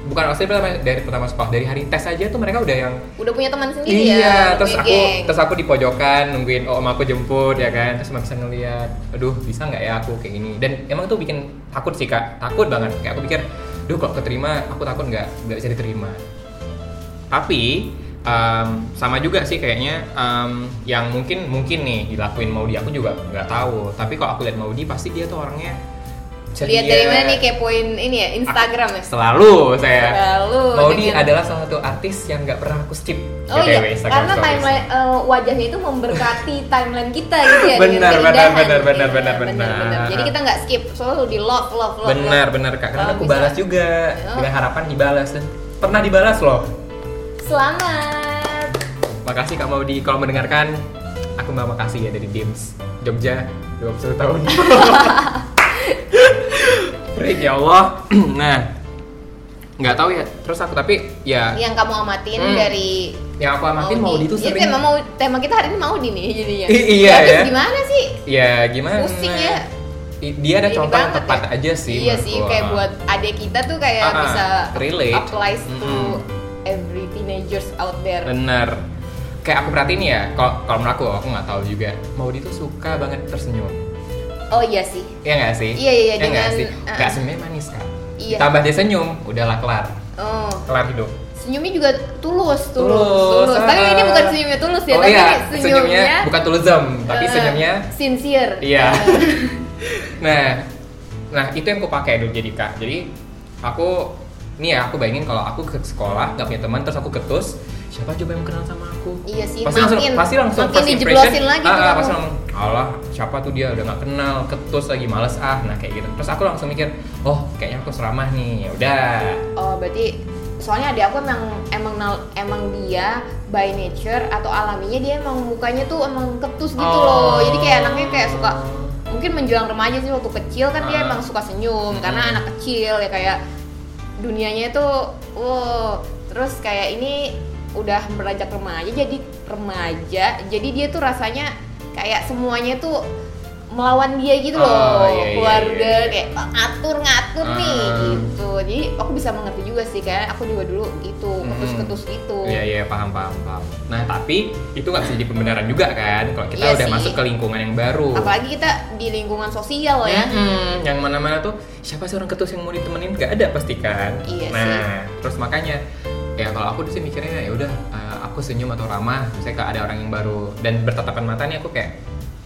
Speaker 1: bukan maksudnya pertama dari pertama sekolah dari hari tes aja tuh mereka udah yang
Speaker 2: Udah punya teman sendiri ya.
Speaker 1: iya
Speaker 2: punya
Speaker 1: terus aku
Speaker 2: geng.
Speaker 1: terus aku di pojokan nungguin oh, om aku jemput ya kan terus bisa ngeliat aduh bisa nggak ya aku kayak gini dan emang tuh bikin takut sih kak takut banget kayak aku pikir duh kok keterima aku takut nggak nggak bisa diterima tapi em, sama juga sih kayaknya em, yang mungkin mungkin nih dilakuin Maudi aku juga nggak tahu tapi kalau aku lihat Maudi pasti dia tuh orangnya ceria.
Speaker 2: Lihat dari mana nih kepoin ini ya Instagram
Speaker 1: Ah,
Speaker 2: ya.
Speaker 1: selalu saya
Speaker 2: Lalu
Speaker 1: Maudi
Speaker 2: dengan-
Speaker 1: adalah salah satu artis yang nggak pernah aku skip
Speaker 2: Oh
Speaker 1: BTW,
Speaker 2: iya,
Speaker 1: Instagram
Speaker 2: karena
Speaker 1: stories.
Speaker 2: timeline eh, wajahnya itu memberkati timeline kita gitu ya. dengan
Speaker 1: Benar, benar,
Speaker 2: keindahan.
Speaker 1: benar, benar,
Speaker 2: Iya,
Speaker 1: benar,
Speaker 2: benar.
Speaker 1: benar.
Speaker 2: Jadi kita nggak skip, selalu di love, love, love.
Speaker 1: benar
Speaker 2: love.
Speaker 1: benar kak karena
Speaker 2: Kalau
Speaker 1: aku
Speaker 2: bisa-
Speaker 1: balas juga
Speaker 2: Oh.
Speaker 1: dengan harapan dibalas dan pernah dibalas loh
Speaker 2: Selamat.
Speaker 1: makasih kak Maudi kalau mendengarkan aku mau makasih ya dari Dims Jogja 21 tahun Break ya Allah nah nggak tahu ya terus aku tapi ya
Speaker 2: Yang kamu amatin
Speaker 1: Hmm.
Speaker 2: dari Iya,
Speaker 1: yang aku amatin Maudi itu
Speaker 2: Jadi
Speaker 1: sering
Speaker 2: tema mau tema kita hari ini Maudi nih jadinya.
Speaker 1: I- iya
Speaker 2: ya. terus
Speaker 1: ya.
Speaker 2: Gimana sih?
Speaker 1: ya gimana
Speaker 2: Pusing ya.
Speaker 1: I- dia ada
Speaker 2: Ini
Speaker 1: contoh yang
Speaker 2: banget
Speaker 1: tepat
Speaker 2: ya.
Speaker 1: aja sih
Speaker 2: iya
Speaker 1: menurut
Speaker 2: sih,
Speaker 1: gua.
Speaker 2: kayak buat adik kita tuh kayak
Speaker 1: Ah, ah,
Speaker 2: bisa
Speaker 1: relate. Hmm.
Speaker 2: applies to
Speaker 1: Mm-mm.
Speaker 2: every teenagers out there.
Speaker 1: Bener. Kayak aku perhatiin ya, kalau kalau menurut aku, aku nggak tahu juga. Maudi tuh suka banget tersenyum.
Speaker 2: Oh iya sih.
Speaker 1: Iya nggak sih?
Speaker 2: Iya, iya,
Speaker 1: Iya nggak
Speaker 2: dengan-
Speaker 1: sih?
Speaker 2: uh-uh.
Speaker 1: Nggak senyumnya manis kan?
Speaker 2: Iya.
Speaker 1: Tambah dia senyum, udahlah kelar.
Speaker 2: Oh.
Speaker 1: Kelar hidup.
Speaker 2: Senyumnya juga tulus, tulus,
Speaker 1: Tulus,
Speaker 2: tulus. Tapi
Speaker 1: ah.
Speaker 2: ini bukan senyumnya tulus ya,
Speaker 1: oh
Speaker 2: tapi
Speaker 1: iya,
Speaker 2: senyumnya,
Speaker 1: senyumnya bukan tulism, tapi
Speaker 2: eh,
Speaker 1: senyumnya
Speaker 2: sincere.
Speaker 1: Iya.
Speaker 2: Eh,
Speaker 1: nah, nah itu yang aku pakai dulu jadi kak. Jadi aku nih ya aku bayangin kalau aku ke sekolah nggak punya teman terus aku ketus siapa coba yang kenal sama aku?
Speaker 2: Iya sih,
Speaker 1: Pasti langsung,
Speaker 2: makin-
Speaker 1: pasti langsung
Speaker 2: makin
Speaker 1: first
Speaker 2: dijeblosin
Speaker 1: impression, ah,
Speaker 2: lagi tuh
Speaker 1: ah,
Speaker 2: kamu.
Speaker 1: pasti langsung, Allah siapa tuh dia udah nggak kenal ketus lagi males ah nah kayak gitu. Terus aku langsung mikir oh kayaknya aku seramah nih ya udah.
Speaker 2: Oh, berarti soalnya adik aku emang emang nal- emang dia by nature atau alaminya dia emang mukanya tuh emang ketus gitu
Speaker 1: Oh.
Speaker 2: loh. Jadi kayak anaknya kayak suka mungkin menjelang remaja sih waktu kecil kan dia
Speaker 1: Ah. Hmm.
Speaker 2: emang suka senyum
Speaker 1: Mm-mm.
Speaker 2: karena anak kecil ya kayak dunianya itu wow terus kayak ini udah beranjak remaja jadi remaja jadi dia tuh rasanya kayak semuanya tuh melawan dia gitu
Speaker 1: Oh, iya,
Speaker 2: loh
Speaker 1: iya,
Speaker 2: keluarga
Speaker 1: iya, iya.
Speaker 2: kayak ngatur ngatur nih
Speaker 1: Ah.
Speaker 2: gitu jadi aku bisa mengerti juga sih kayak aku juga dulu gitu ketus ketus gitu
Speaker 1: Mm-hmm. Iya iya paham paham paham. Nah tapi itu nggak bisa jadi pembenaran juga kan kalau kita
Speaker 2: Iya
Speaker 1: udah
Speaker 2: sih.
Speaker 1: masuk ke lingkungan yang baru.
Speaker 2: apalagi kita di lingkungan sosial ya
Speaker 1: Mm-mm, yang mana-mana tuh siapa sih orang ketus yang mau ditemenin nggak ada pasti kan
Speaker 2: Iya
Speaker 1: nah
Speaker 2: sih.
Speaker 1: terus makanya ya kalau aku sih mikirnya ya udah eh, aku senyum atau ramah misalnya kalau ada orang yang baru dan bertatapan mata nih aku kayak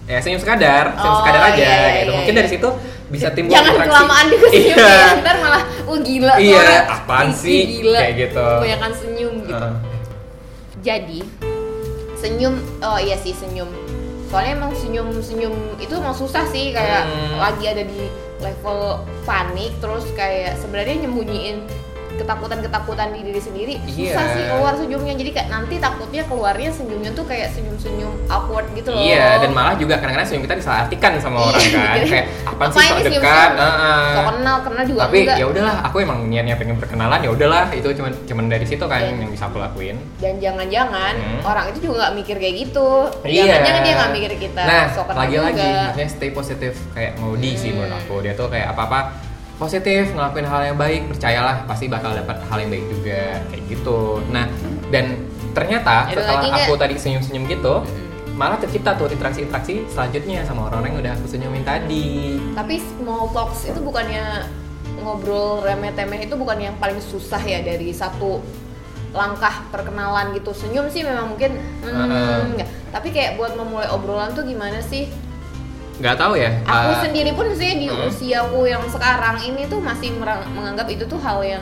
Speaker 1: ya senyum sekadar senyum
Speaker 2: Oh,
Speaker 1: sekadar aja
Speaker 2: iya, iya,
Speaker 1: gitu
Speaker 2: iya,
Speaker 1: mungkin
Speaker 2: iya.
Speaker 1: dari situ bisa timbul
Speaker 2: jangan
Speaker 1: interaksi.
Speaker 2: kelamaan juga senyum
Speaker 1: iya
Speaker 2: ya ntar malah wah gila tuh
Speaker 1: Iya,
Speaker 2: orang.
Speaker 1: apaan
Speaker 2: Ih,
Speaker 1: sih?
Speaker 2: gila
Speaker 1: Kayak gitu.
Speaker 2: kebanyakan senyum gitu
Speaker 1: Heeh.
Speaker 2: jadi senyum oh iya sih senyum soalnya emang senyum senyum itu emang susah sih kayak
Speaker 1: Hmm.
Speaker 2: lagi ada di level panik terus kayak sebenarnya nyembunyiin ketakutan-ketakutan di diri sendiri susah
Speaker 1: Iya.
Speaker 2: sih keluar senyumnya jadi kayak nanti takutnya keluarnya senyumnya tuh kayak senyum-senyum awkward gitu loh
Speaker 1: Iya, dan malah juga kadang-kadang senyum kita disalahartikan sama orang
Speaker 2: Iya,
Speaker 1: kan,
Speaker 2: jadi,
Speaker 1: kayak apaan sih
Speaker 2: ngapain
Speaker 1: sok
Speaker 2: sih
Speaker 1: dekat,
Speaker 2: senyum-senyum?
Speaker 1: heeh.
Speaker 2: so kenal kenal juga
Speaker 1: tapi
Speaker 2: enggak
Speaker 1: ya udahlah, aku emang niatnya pengen berkenalan, ya udahlah, itu cuman cuman dari situ kan
Speaker 2: Iya.
Speaker 1: yang bisa aku lakuin.
Speaker 2: dan jangan-jangan
Speaker 1: Hmm.
Speaker 2: orang itu juga nggak mikir kayak gitu
Speaker 1: Iya.
Speaker 2: jangan-jangan dia nggak mikir kita
Speaker 1: Nah,
Speaker 2: so kenal
Speaker 1: lagi-lagi
Speaker 2: juga.
Speaker 1: maksudnya stay positif kayak Maudi sih
Speaker 2: Hmm.
Speaker 1: menurut aku. Dia tuh kayak apa-apa positif, ngelakuin hal yang baik, percayalah pasti bakal dapat hal yang baik juga kayak gitu. Nah, dan ternyata
Speaker 2: Ada
Speaker 1: setelah
Speaker 2: lagi nggak? Hmm.
Speaker 1: aku tadi senyum-senyum gitu, malah tercipta tuh interaksi-interaksi selanjutnya sama orang-orang yang udah aku senyumin tadi.
Speaker 2: Tapi small talks itu bukannya ngobrol remeh-temeh itu bukan yang paling susah ya dari satu langkah perkenalan gitu. Senyum sih memang mungkin hmm,
Speaker 1: Heeh.
Speaker 2: nggak. Tapi kayak buat memulai obrolan tuh gimana sih?
Speaker 1: nggak tahu ya
Speaker 2: aku
Speaker 1: eh,
Speaker 2: sendiri pun maksudnya di
Speaker 1: mm.
Speaker 2: usiaku yang sekarang ini tuh masih merang- menganggap itu tuh hal yang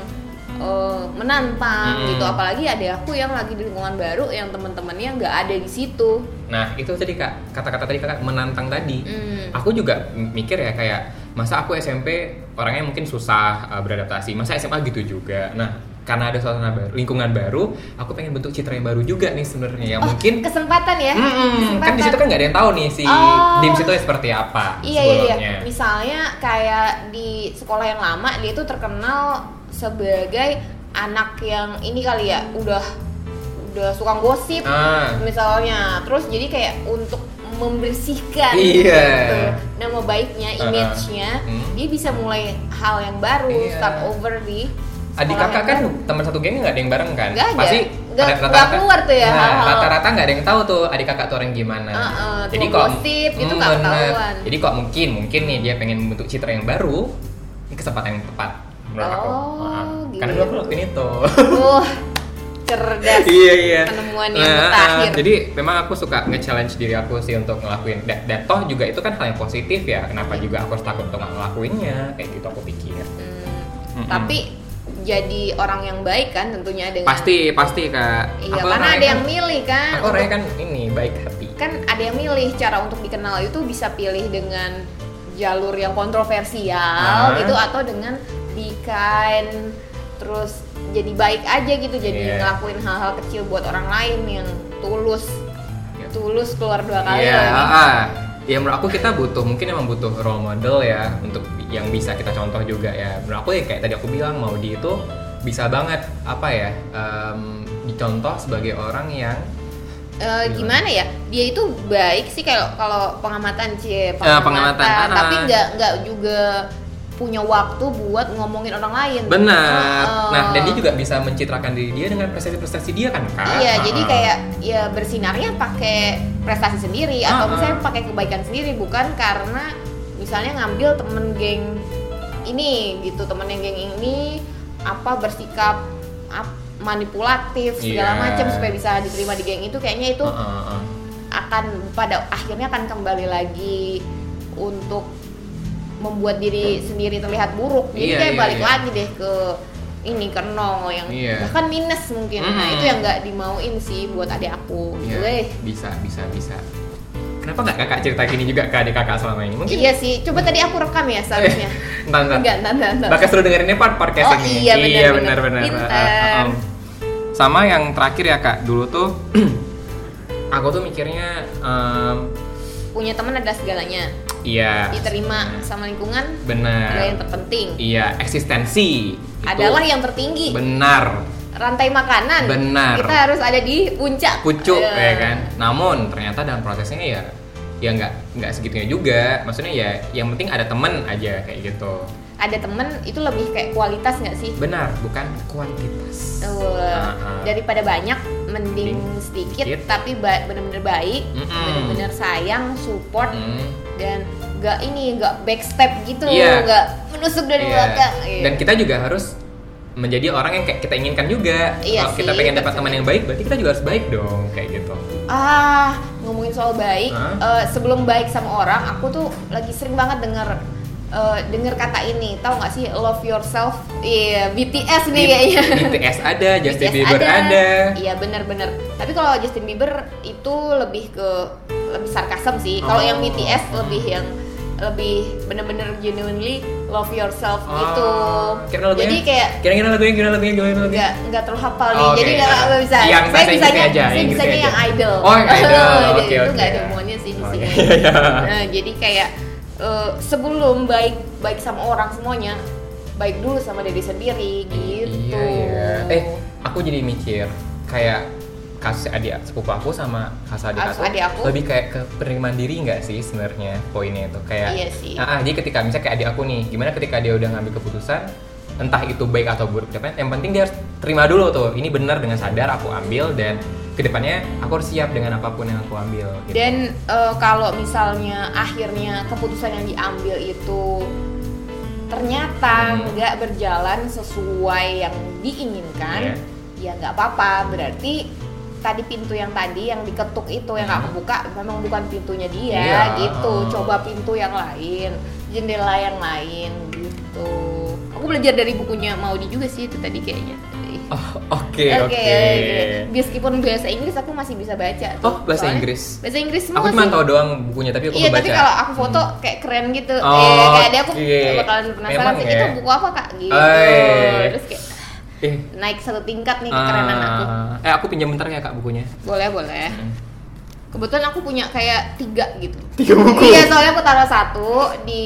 Speaker 2: eh, menantang
Speaker 1: Mm.
Speaker 2: gitu apalagi ada aku yang lagi di lingkungan baru yang temen-temennya nggak ada di situ
Speaker 1: nah itu tadi kak kata-kata tadi kakak menantang tadi
Speaker 2: Mm.
Speaker 1: aku juga m- mikir ya kayak masa aku SMP orangnya mungkin susah uh, beradaptasi masa SMA gitu juga nah karena ada suasana baru lingkungan baru aku pengen bentuk citra yang baru juga nih sebenarnya ya
Speaker 2: Oh,
Speaker 1: mungkin
Speaker 2: kesempatan ya
Speaker 1: Mm-mm, kan di situ kan nggak ada yang tahu nih si
Speaker 2: Oh.
Speaker 1: Dims itu seperti apa
Speaker 2: Iya iya
Speaker 1: sebelumnya
Speaker 2: iya. Misalnya kayak di sekolah yang lama dia itu terkenal sebagai anak yang ini kali ya udah udah suka gosip
Speaker 1: Ah.
Speaker 2: misalnya. Terus jadi kayak untuk membersihkan
Speaker 1: Iya.
Speaker 2: gitu, nama baiknya,
Speaker 1: Uh-uh.
Speaker 2: image-nya,
Speaker 1: Hmm.
Speaker 2: dia bisa mulai hal yang baru,
Speaker 1: Iya.
Speaker 2: start over di
Speaker 1: Adik
Speaker 2: sekolah
Speaker 1: kakak
Speaker 2: yang
Speaker 1: kan
Speaker 2: baru.
Speaker 1: teman satu gengnya nggak ada yang bareng kan?
Speaker 2: Nggak ada.
Speaker 1: Pasti
Speaker 2: Nggak-
Speaker 1: rata-
Speaker 2: nggak keluar tuh ya,
Speaker 1: Nah,
Speaker 2: hal-hal.
Speaker 1: Rata-rata nggak ada yang tahu tuh adik kakak tuh orang gimana.
Speaker 2: Heeh, tukang gosip gitu nggak
Speaker 1: Mm, bener.
Speaker 2: ketahuan.
Speaker 1: Jadi kok mungkin mungkin nih dia pengen membentuk citra yang baru, ini kesempatan yang tepat menurut aku.
Speaker 2: Oh,
Speaker 1: Heeh.
Speaker 2: gitu.
Speaker 1: Karena dulu aku lakuin itu.
Speaker 2: Tuh, cerdas.
Speaker 1: iya iya.
Speaker 2: Penemuan yang
Speaker 1: Nah,
Speaker 2: mutakhir.
Speaker 1: Jadi memang aku suka nge-challenge diri aku sih untuk ngelakuin dan, dan toh juga itu kan hal yang positif ya. Kenapa juga aku harus takut untuk nggak ngelakuinnya? Kayak gitu aku pikir.
Speaker 2: Hmm,
Speaker 1: Mm-mm.
Speaker 2: Tapi jadi orang yang baik kan tentunya dengan
Speaker 1: Pasti pasti kak.
Speaker 2: Iya,
Speaker 1: Aku
Speaker 2: karena
Speaker 1: orangnya
Speaker 2: ada yang
Speaker 1: kan-
Speaker 2: milih kan.
Speaker 1: Aku orangnya kan ini baik hati.
Speaker 2: Kan ada yang milih cara untuk dikenal itu bisa pilih dengan jalur yang
Speaker 1: Ah.
Speaker 2: kontroversial gitu atau dengan be kind terus jadi baik aja gitu jadi
Speaker 1: Iya.
Speaker 2: ngelakuin hal-hal kecil buat orang lain yang tulus
Speaker 1: Iya.
Speaker 2: tulus keluar dua kali ya. Eh,
Speaker 1: Iya.
Speaker 2: loh ini.
Speaker 1: ah. Ya menurut aku kita butuh mungkin emang butuh role model ya untuk yang bisa kita contoh juga ya. Menurut aku ya kayak tadi aku bilang mau di itu bisa banget apa ya em, dicontoh sebagai orang yang
Speaker 2: Eh,
Speaker 1: Iya.
Speaker 2: gimana ya dia itu baik sih kalau kalau pengamatan cie
Speaker 1: Eh, pengamatan, ah.
Speaker 2: tapi nggak nggak juga punya waktu buat ngomongin orang lain Ah.
Speaker 1: benar.
Speaker 2: Heeh.
Speaker 1: Nah dan dia juga bisa mencitrakan diri dia dengan prestasi-prestasi dia kan kak.
Speaker 2: iya jadi
Speaker 1: Ah.
Speaker 2: kayak ya bersinarnya pakai prestasi sendiri
Speaker 1: Ah, ah.
Speaker 2: atau misalnya pakai kebaikan sendiri bukan karena misalnya ngambil temen geng ini gitu temen yang geng ini apa bersikap ap- manipulatif segala
Speaker 1: Iya.
Speaker 2: macam supaya bisa diterima di geng itu kayaknya itu
Speaker 1: Ah, ah, ah.
Speaker 2: akan pada akhirnya akan kembali lagi untuk membuat diri sendiri terlihat buruk jadi
Speaker 1: Iya,
Speaker 2: kayak
Speaker 1: iya,
Speaker 2: balik
Speaker 1: iya.
Speaker 2: lagi deh ke ini ke nol yang
Speaker 1: Iya.
Speaker 2: bahkan minus mungkin nah
Speaker 1: Mm.
Speaker 2: itu yang nggak dimauin sih buat adik aku
Speaker 1: Iya,
Speaker 2: Weh.
Speaker 1: bisa bisa bisa. Kenapa nggak kakak cerita gini juga ke adik kakak selama ini? Mungkin Eh,
Speaker 2: iya sih coba tadi aku rekam ya seharusnya
Speaker 1: Entar, entar.
Speaker 2: enggak enggak enggak, enggak.
Speaker 1: Bakal seru dengerinnya part podcast
Speaker 2: Oh,
Speaker 1: ini.
Speaker 2: iya, benar, benar.
Speaker 1: benar benar.
Speaker 2: Pinter.
Speaker 1: Ah, ah, ah. Sama yang terakhir ya kak, dulu tuh aku tuh mikirnya em,
Speaker 2: punya teman ada segalanya
Speaker 1: iya
Speaker 2: diterima sama lingkungan adalah yang
Speaker 1: benar
Speaker 2: terpenting
Speaker 1: Nah. iya eksistensi itu
Speaker 2: adalah yang tertinggi
Speaker 1: benar
Speaker 2: rantai makanan
Speaker 1: Benar.
Speaker 2: kita harus ada di puncak
Speaker 1: pucuk
Speaker 2: Eh,
Speaker 1: ya kan. Namun ternyata dalam prosesnya ya ya nggak nggak segitunya juga. Maksudnya ya yang penting ada temen aja kayak gitu.
Speaker 2: ada temen itu lebih kayak kualitas nggak sih
Speaker 1: Benar bukan kuantitas.
Speaker 2: Tuh,
Speaker 1: Ah, ah.
Speaker 2: daripada banyak mending
Speaker 1: Mending
Speaker 2: sedikit,
Speaker 1: sedikit.
Speaker 2: tapi ba- bener-bener baik
Speaker 1: Mm-mm.
Speaker 2: bener-bener sayang support
Speaker 1: Hmm.
Speaker 2: dan nggak ini nggak backstep gitu
Speaker 1: Iya.
Speaker 2: nggak menusuk dari
Speaker 1: Iya.
Speaker 2: belakang Iya.
Speaker 1: Dan kita juga harus menjadi orang yang kayak kita inginkan juga.
Speaker 2: Iya
Speaker 1: Kalau kita
Speaker 2: sih,
Speaker 1: pengen dapat
Speaker 2: betul.
Speaker 1: teman yang baik, berarti kita juga harus baik dong, kayak gitu.
Speaker 2: ah ngomongin soal baik
Speaker 1: Hah?
Speaker 2: eh, sebelum baik sama orang aku tuh lagi sering banget denger eh, denger kata ini tahu nggak sih love yourself iya BTS nih kayaknya
Speaker 1: BTS ada, Justin
Speaker 2: BTS
Speaker 1: Bieber ada.
Speaker 2: Iya benar-benar. Tapi kalau Justin Bieber itu lebih ke lebih sarkasm sih. Kalau
Speaker 1: Oh.
Speaker 2: yang BTS lebih yang lebih bener-bener genuinely love yourself
Speaker 1: Oh,
Speaker 2: gitu.
Speaker 1: Kira-kira lagunya?
Speaker 2: Jadi kayak
Speaker 1: kira-kira lagunya, kira-kira lagunya, kira-kira lagunya.
Speaker 2: nggak nggak terlalu hafal nih.
Speaker 1: Oh, oke,
Speaker 2: Jadi nggak
Speaker 1: iya.
Speaker 2: nggak bisa.
Speaker 1: Yang
Speaker 2: saya
Speaker 1: bahasa Inggris
Speaker 2: bisanya
Speaker 1: aja,
Speaker 2: saya
Speaker 1: Inggris
Speaker 2: bisanya
Speaker 1: aja.
Speaker 2: yang idol.
Speaker 1: Oh, yang idol.
Speaker 2: Jadi
Speaker 1: Oke,
Speaker 2: itu
Speaker 1: oke.
Speaker 2: nggak ada hubungannya sih di
Speaker 1: Oh,
Speaker 2: sini.
Speaker 1: iya, iya.
Speaker 2: Nah, jadi kayak eh, sebelum baik baik sama orang semuanya baik dulu sama diri sendiri gitu.
Speaker 1: Iya, iya. Eh, aku jadi mikir kayak kasus adik sepupu aku sama kasus adik
Speaker 2: Kasus
Speaker 1: aku,
Speaker 2: adik aku?
Speaker 1: lebih kayak ke penerimaan diri nggak sih sebenarnya poinnya itu kayak
Speaker 2: Iya sih.
Speaker 1: Ah, ah, jadi ketika misalnya kayak adik aku nih gimana ketika dia udah ngambil keputusan entah itu baik atau buruk kedepannya yang penting dia harus terima dulu tuh ini benar dengan sadar aku ambil dan kedepannya aku harus siap dengan apapun yang aku ambil gitu.
Speaker 2: Dan eh, kalau misalnya akhirnya keputusan yang diambil itu ternyata
Speaker 1: Hmm.
Speaker 2: nggak berjalan sesuai yang diinginkan,
Speaker 1: Iya.
Speaker 2: ya nggak apa-apa. Berarti tadi pintu yang tadi yang diketuk itu yang
Speaker 1: Hmm.
Speaker 2: aku buka memang bukan pintunya dia
Speaker 1: Iya.
Speaker 2: gitu coba pintu yang lain jendela yang lain gitu aku belajar dari bukunya Maudi juga sih itu tadi kayaknya
Speaker 1: Oh, Oke oke.
Speaker 2: meskipun bahasa Inggris aku masih bisa baca tuh.
Speaker 1: Oh, bahasa
Speaker 2: Soalnya
Speaker 1: Inggris.
Speaker 2: bahasa Inggris semua
Speaker 1: Aku cuma
Speaker 2: sih.
Speaker 1: tahu doang bukunya tapi aku
Speaker 2: Iya,
Speaker 1: belum
Speaker 2: tapi
Speaker 1: baca.
Speaker 2: kalau aku foto kayak keren gitu.
Speaker 1: Hmm. Oh,
Speaker 2: eh, kayak ada aku
Speaker 1: oke.
Speaker 2: bakalan penasaran
Speaker 1: Memang
Speaker 2: sih
Speaker 1: ya.
Speaker 2: itu buku apa Kak gitu.
Speaker 1: Eh.
Speaker 2: Terus kayak
Speaker 1: Eh,
Speaker 2: naik satu tingkat nih kekerenan aku.
Speaker 1: ah, Eh aku pinjam bentar ya kak bukunya.
Speaker 2: Boleh, boleh. Kebetulan aku punya kayak tiga gitu.
Speaker 1: Tiga buku?
Speaker 2: Iya, soalnya aku taruh satu di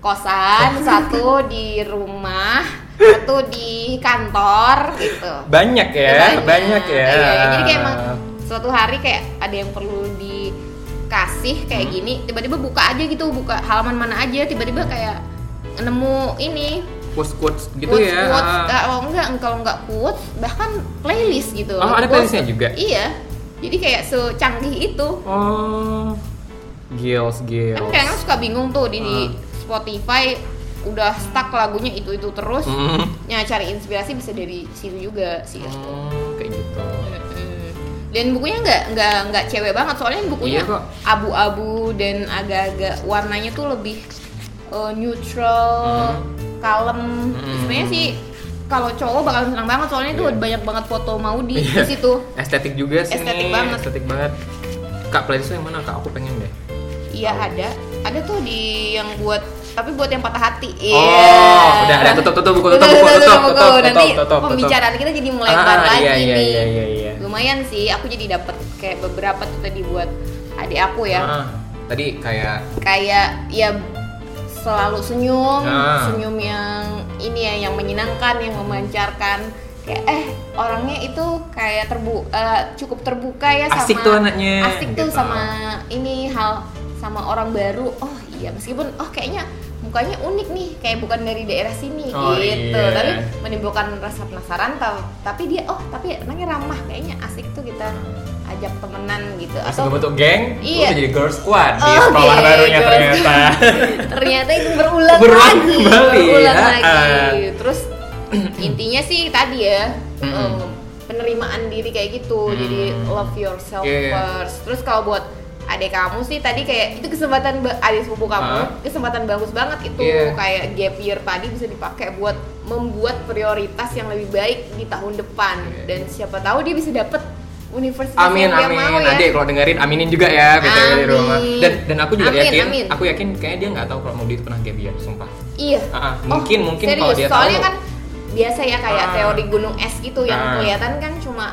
Speaker 2: kosan, satu di rumah, satu di kantor gitu.
Speaker 1: Banyak ya, banyak, ya.
Speaker 2: Iya, iya. jadi kayak emang suatu hari kayak ada yang perlu dikasih kayak
Speaker 1: Hmm.
Speaker 2: gini, tiba-tiba buka aja gitu, buka halaman mana aja, tiba-tiba kayak nemu ini
Speaker 1: quotes quotes gitu
Speaker 2: quotes,
Speaker 1: ya.
Speaker 2: quotes,
Speaker 1: ah.
Speaker 2: kalau enggak kalau enggak quotes bahkan playlist gitu.
Speaker 1: Oh, ada
Speaker 2: Quotes-
Speaker 1: playlistnya juga?
Speaker 2: Iya. Jadi kayak secanggih itu.
Speaker 1: Oh, gils gils.
Speaker 2: Kan kadang suka bingung tuh di, di
Speaker 1: Iya, oh. Ah.
Speaker 2: Spotify udah stuck lagunya itu-itu terus.
Speaker 1: Hmm.
Speaker 2: Ya cari inspirasi bisa dari situ juga sih.
Speaker 1: Oh, kayak gitu.
Speaker 2: Mm-mm. Dan bukunya nggak nggak nggak cewek banget soalnya bukunya
Speaker 1: Iya kok.
Speaker 2: abu-abu dan agak-agak warnanya tuh lebih eh, neutral,
Speaker 1: Mm-hmm.
Speaker 2: kalem.
Speaker 1: Mm.
Speaker 2: Sebenarnya sih kalau cowok bakal senang banget soalnya itu
Speaker 1: Iya.
Speaker 2: banyak banget foto mau di
Speaker 1: Iya.
Speaker 2: situ.
Speaker 1: Estetik juga sih.
Speaker 2: Estetik
Speaker 1: nih,
Speaker 2: banget.
Speaker 1: Estetik banget. Kak playlistnya yang mana kak? Aku pengen deh.
Speaker 2: Iya ada, ada tuh di yang buat tapi buat yang patah hati. Iya.
Speaker 1: Oh, udah, udah, tutup, tutup buku, tutup buku, tutup,
Speaker 2: buku.
Speaker 1: tutup,
Speaker 2: Nanti
Speaker 1: tutup, tutup, tutup.
Speaker 2: pembicaraan kita jadi
Speaker 1: Ah,
Speaker 2: melebar lagi
Speaker 1: iya, iya,
Speaker 2: nih.
Speaker 1: iya, iya, iya.
Speaker 2: Lumayan sih, aku jadi dapat kayak beberapa tuh tadi buat adik aku ya.
Speaker 1: Ah, tadi kayak
Speaker 2: kayak ya selalu senyum,
Speaker 1: Nah.
Speaker 2: senyum yang ini ya yang menyenangkan, yang memancarkan. Kayak eh orangnya itu kayak terbu eh, cukup terbuka ya sama
Speaker 1: Asik tuh anaknya,
Speaker 2: Asik tuh
Speaker 1: gitu.
Speaker 2: sama ini hal sama orang baru. Oh iya, meskipun oh kayaknya mukanya unik nih, kayak bukan dari daerah sini
Speaker 1: Oh,
Speaker 2: gitu.
Speaker 1: iya.
Speaker 2: Tapi menimbulkan rasa penasaran tau- tapi dia oh tapi anaknya ramah kayaknya asik tuh kita ajak temenan gitu
Speaker 1: pas kebentuk geng,
Speaker 2: Iya.
Speaker 1: udah jadi girl squad di
Speaker 2: Oke,
Speaker 1: sekolah barunya
Speaker 2: girl
Speaker 1: ternyata.
Speaker 2: ternyata itu berulang,
Speaker 1: Berulang
Speaker 2: lagi
Speaker 1: kembali,
Speaker 2: berulang
Speaker 1: ya.
Speaker 2: lagi terus intinya sih tadi ya
Speaker 1: Mm-mm.
Speaker 2: em, penerimaan diri kayak gitu
Speaker 1: Hmm.
Speaker 2: jadi love yourself
Speaker 1: Iya, iya.
Speaker 2: first terus kalau buat adik kamu sih tadi kayak itu kesempatan ba- adik sepupu kamu
Speaker 1: Hah?
Speaker 2: kesempatan bagus banget itu
Speaker 1: Iya.
Speaker 2: kayak gap year tadi bisa dipakai buat membuat prioritas yang lebih baik di tahun depan
Speaker 1: Iya.
Speaker 2: dan siapa tahu dia bisa dapet universitas
Speaker 1: Amin,
Speaker 2: yang dia
Speaker 1: amin.
Speaker 2: mau ya
Speaker 1: Adik kalau dengerin aminin juga ya BTW di
Speaker 2: Amin.
Speaker 1: rumah. Dan dan aku juga
Speaker 2: Amin,
Speaker 1: yakin,
Speaker 2: amin.
Speaker 1: aku yakin kayaknya dia nggak tahu kalau Maudie itu pernah gap year, sumpah.
Speaker 2: Iya.
Speaker 1: Ah, ah. Mungkin- mungkin
Speaker 2: serius.
Speaker 1: kalau dia
Speaker 2: Soalnya
Speaker 1: tahu.
Speaker 2: kan biasa ya kayak
Speaker 1: Ah.
Speaker 2: teori gunung es gitu yang
Speaker 1: Ah.
Speaker 2: kelihatan kan cuma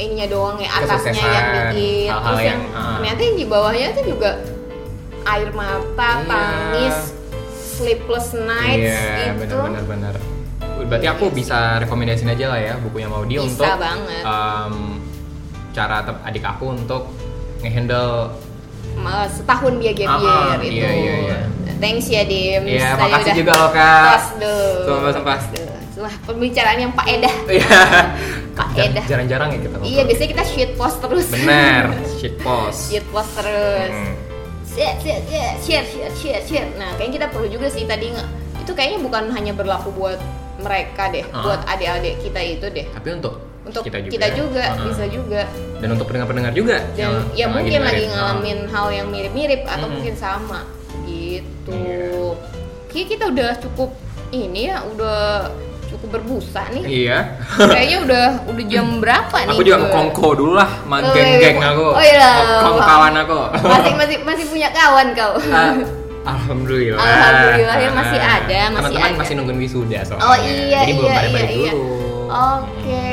Speaker 2: ininya doang ya atasnya yang
Speaker 1: Kesuksesan,
Speaker 2: dikit
Speaker 1: hal-hal
Speaker 2: terus yang
Speaker 1: yang, ah.
Speaker 2: ternyata yang di bawahnya tuh juga air mata,
Speaker 1: Iya.
Speaker 2: tangis, sleepless nights
Speaker 1: Iya,
Speaker 2: gitu.
Speaker 1: benar-benar benar. Berarti aku bisa rekomendasiin aja lah ya bukunya Maudie
Speaker 2: Bisa
Speaker 1: untuk
Speaker 2: banget.
Speaker 1: em, cara te- adik aku untuk ngehandle
Speaker 2: Ma- Setahun dia
Speaker 1: Ah,
Speaker 2: gap year
Speaker 1: ah,
Speaker 2: itu.
Speaker 1: iya, iya, iya.
Speaker 2: Thanks ya Dim.
Speaker 1: Iya,
Speaker 2: Saya
Speaker 1: makasih
Speaker 2: udah
Speaker 1: juga loh, Kak.
Speaker 2: tos deh.
Speaker 1: Sumpah-sumpah.
Speaker 2: Tos deh. Wah, pembicaraan yang Pak Edah.
Speaker 1: Iya.
Speaker 2: Pak
Speaker 1: Jar-
Speaker 2: Edah.
Speaker 1: Jarang-jarang ya kita
Speaker 2: Iya,
Speaker 1: ngobrol.
Speaker 2: biasanya kita shit post terus.
Speaker 1: Bener, shit post.
Speaker 2: shit post terus.
Speaker 1: Hmm.
Speaker 2: share share share share share share share nah kayaknya kita perlu juga sih tadi nge- itu kayaknya bukan hanya berlaku buat mereka deh
Speaker 1: Ah.
Speaker 2: buat adik-adik kita itu deh
Speaker 1: Tapi untuk
Speaker 2: untuk
Speaker 1: kita juga, Ah.
Speaker 2: bisa juga
Speaker 1: dan untuk pendengar-pendengar juga
Speaker 2: dan
Speaker 1: yang- Ah.
Speaker 2: ya
Speaker 1: yang
Speaker 2: mungkin lagi
Speaker 1: dengerin.
Speaker 2: ngalamin hal yang mirip-mirip atau
Speaker 1: Mm-mm.
Speaker 2: mungkin sama gitu
Speaker 1: Hmm. Iya.
Speaker 2: Kayaknya kita udah cukup ini ya udah cukup berbusa
Speaker 1: Ah.
Speaker 2: nih
Speaker 1: Iya. Hmm.
Speaker 2: kayaknya udah udah jam berapa nih
Speaker 1: Aku juga
Speaker 2: Jul?
Speaker 1: ngekongko dulu lah, sama
Speaker 2: Oh, iya.
Speaker 1: geng-geng aku,
Speaker 2: Oh, iya.
Speaker 1: kawan aku.
Speaker 2: masih masih masih punya kawan kau
Speaker 1: Ah, Alhamdulillah.
Speaker 2: Alhamdulillah, ya masih
Speaker 1: Ah,
Speaker 2: ada, masih
Speaker 1: Teman-teman
Speaker 2: ada.
Speaker 1: masih nungguin wisuda soalnya.
Speaker 2: Oh iya
Speaker 1: Jadi
Speaker 2: iya
Speaker 1: belum pada
Speaker 2: iya
Speaker 1: balik
Speaker 2: iya.
Speaker 1: dulu.
Speaker 2: Oke,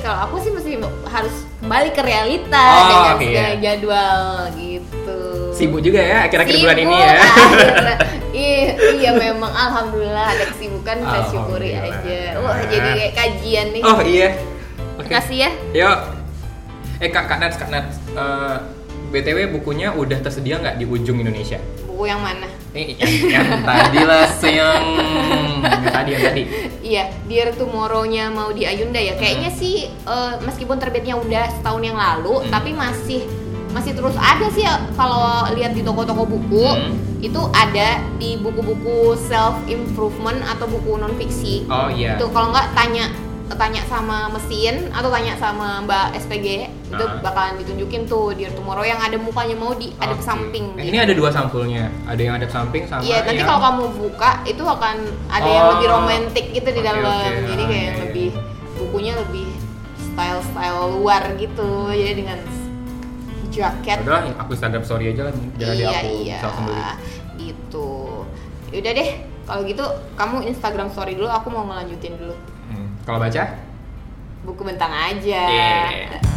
Speaker 2: kalau aku sih mesti harus kembali ke realita
Speaker 1: Oh,
Speaker 2: dengan
Speaker 1: oke,
Speaker 2: segala
Speaker 1: iya.
Speaker 2: jadwal gitu.
Speaker 1: Sibuk juga ya akhir-akhir bulan ini
Speaker 2: Sibuk,
Speaker 1: ya.
Speaker 2: akhirnya. iya, iya memang alhamdulillah ada kesibukan kita syukuri aja.
Speaker 1: Alhamdulillah.
Speaker 2: Wah, jadi kayak kajian nih.
Speaker 1: Oh iya. Oke.
Speaker 2: Makasih ya.
Speaker 1: Yuk. Eh Kak Kak Nats, Kak Nats. eh, BTW bukunya udah tersedia nggak di ujung Indonesia?
Speaker 2: Buku yang mana?
Speaker 1: Eh, yang, yang tadi lah, yang yang tadi yang tadi.
Speaker 2: Iya, Dear Tomorrow-nya mau di Ayunda ya. Kayaknya sih eh, meskipun terbitnya udah setahun yang lalu,
Speaker 1: Hmm.
Speaker 2: tapi masih masih terus ada sih ya, kalau lihat di toko-toko buku
Speaker 1: Hmm.
Speaker 2: itu ada di buku-buku self improvement atau buku non fiksi.
Speaker 1: Oh iya.
Speaker 2: Itu kalau nggak tanya tanya sama mesin atau tanya sama Mbak SPG itu
Speaker 1: Ah.
Speaker 2: bakalan ditunjukin tuh di Tomorrow yang ada mukanya mau di ada
Speaker 1: Oke.
Speaker 2: samping.
Speaker 1: Eh,
Speaker 2: gitu.
Speaker 1: Ini ada dua sampulnya. Ada yang ada samping sama
Speaker 2: Iya, nanti
Speaker 1: yang-
Speaker 2: kalau kamu buka itu akan ada yang
Speaker 1: Oh.
Speaker 2: lebih romantis gitu di
Speaker 1: Oke,
Speaker 2: dalam.
Speaker 1: oke.
Speaker 2: Jadi
Speaker 1: Ah,
Speaker 2: kayak
Speaker 1: iya,
Speaker 2: yang
Speaker 1: iya.
Speaker 2: lebih bukunya lebih style-style luar gitu. Jadi dengan jaket.
Speaker 1: Udah lah, aku Instagram story aja lah jangan
Speaker 2: iya,
Speaker 1: di aku
Speaker 2: iya.
Speaker 1: salah sembeli.
Speaker 2: Gitu. Yaudah deh, kalau gitu kamu Instagram story dulu, aku mau ngelanjutin dulu.
Speaker 1: Hmm. Kalau baca?
Speaker 2: Buku bentang aja.
Speaker 1: Iya.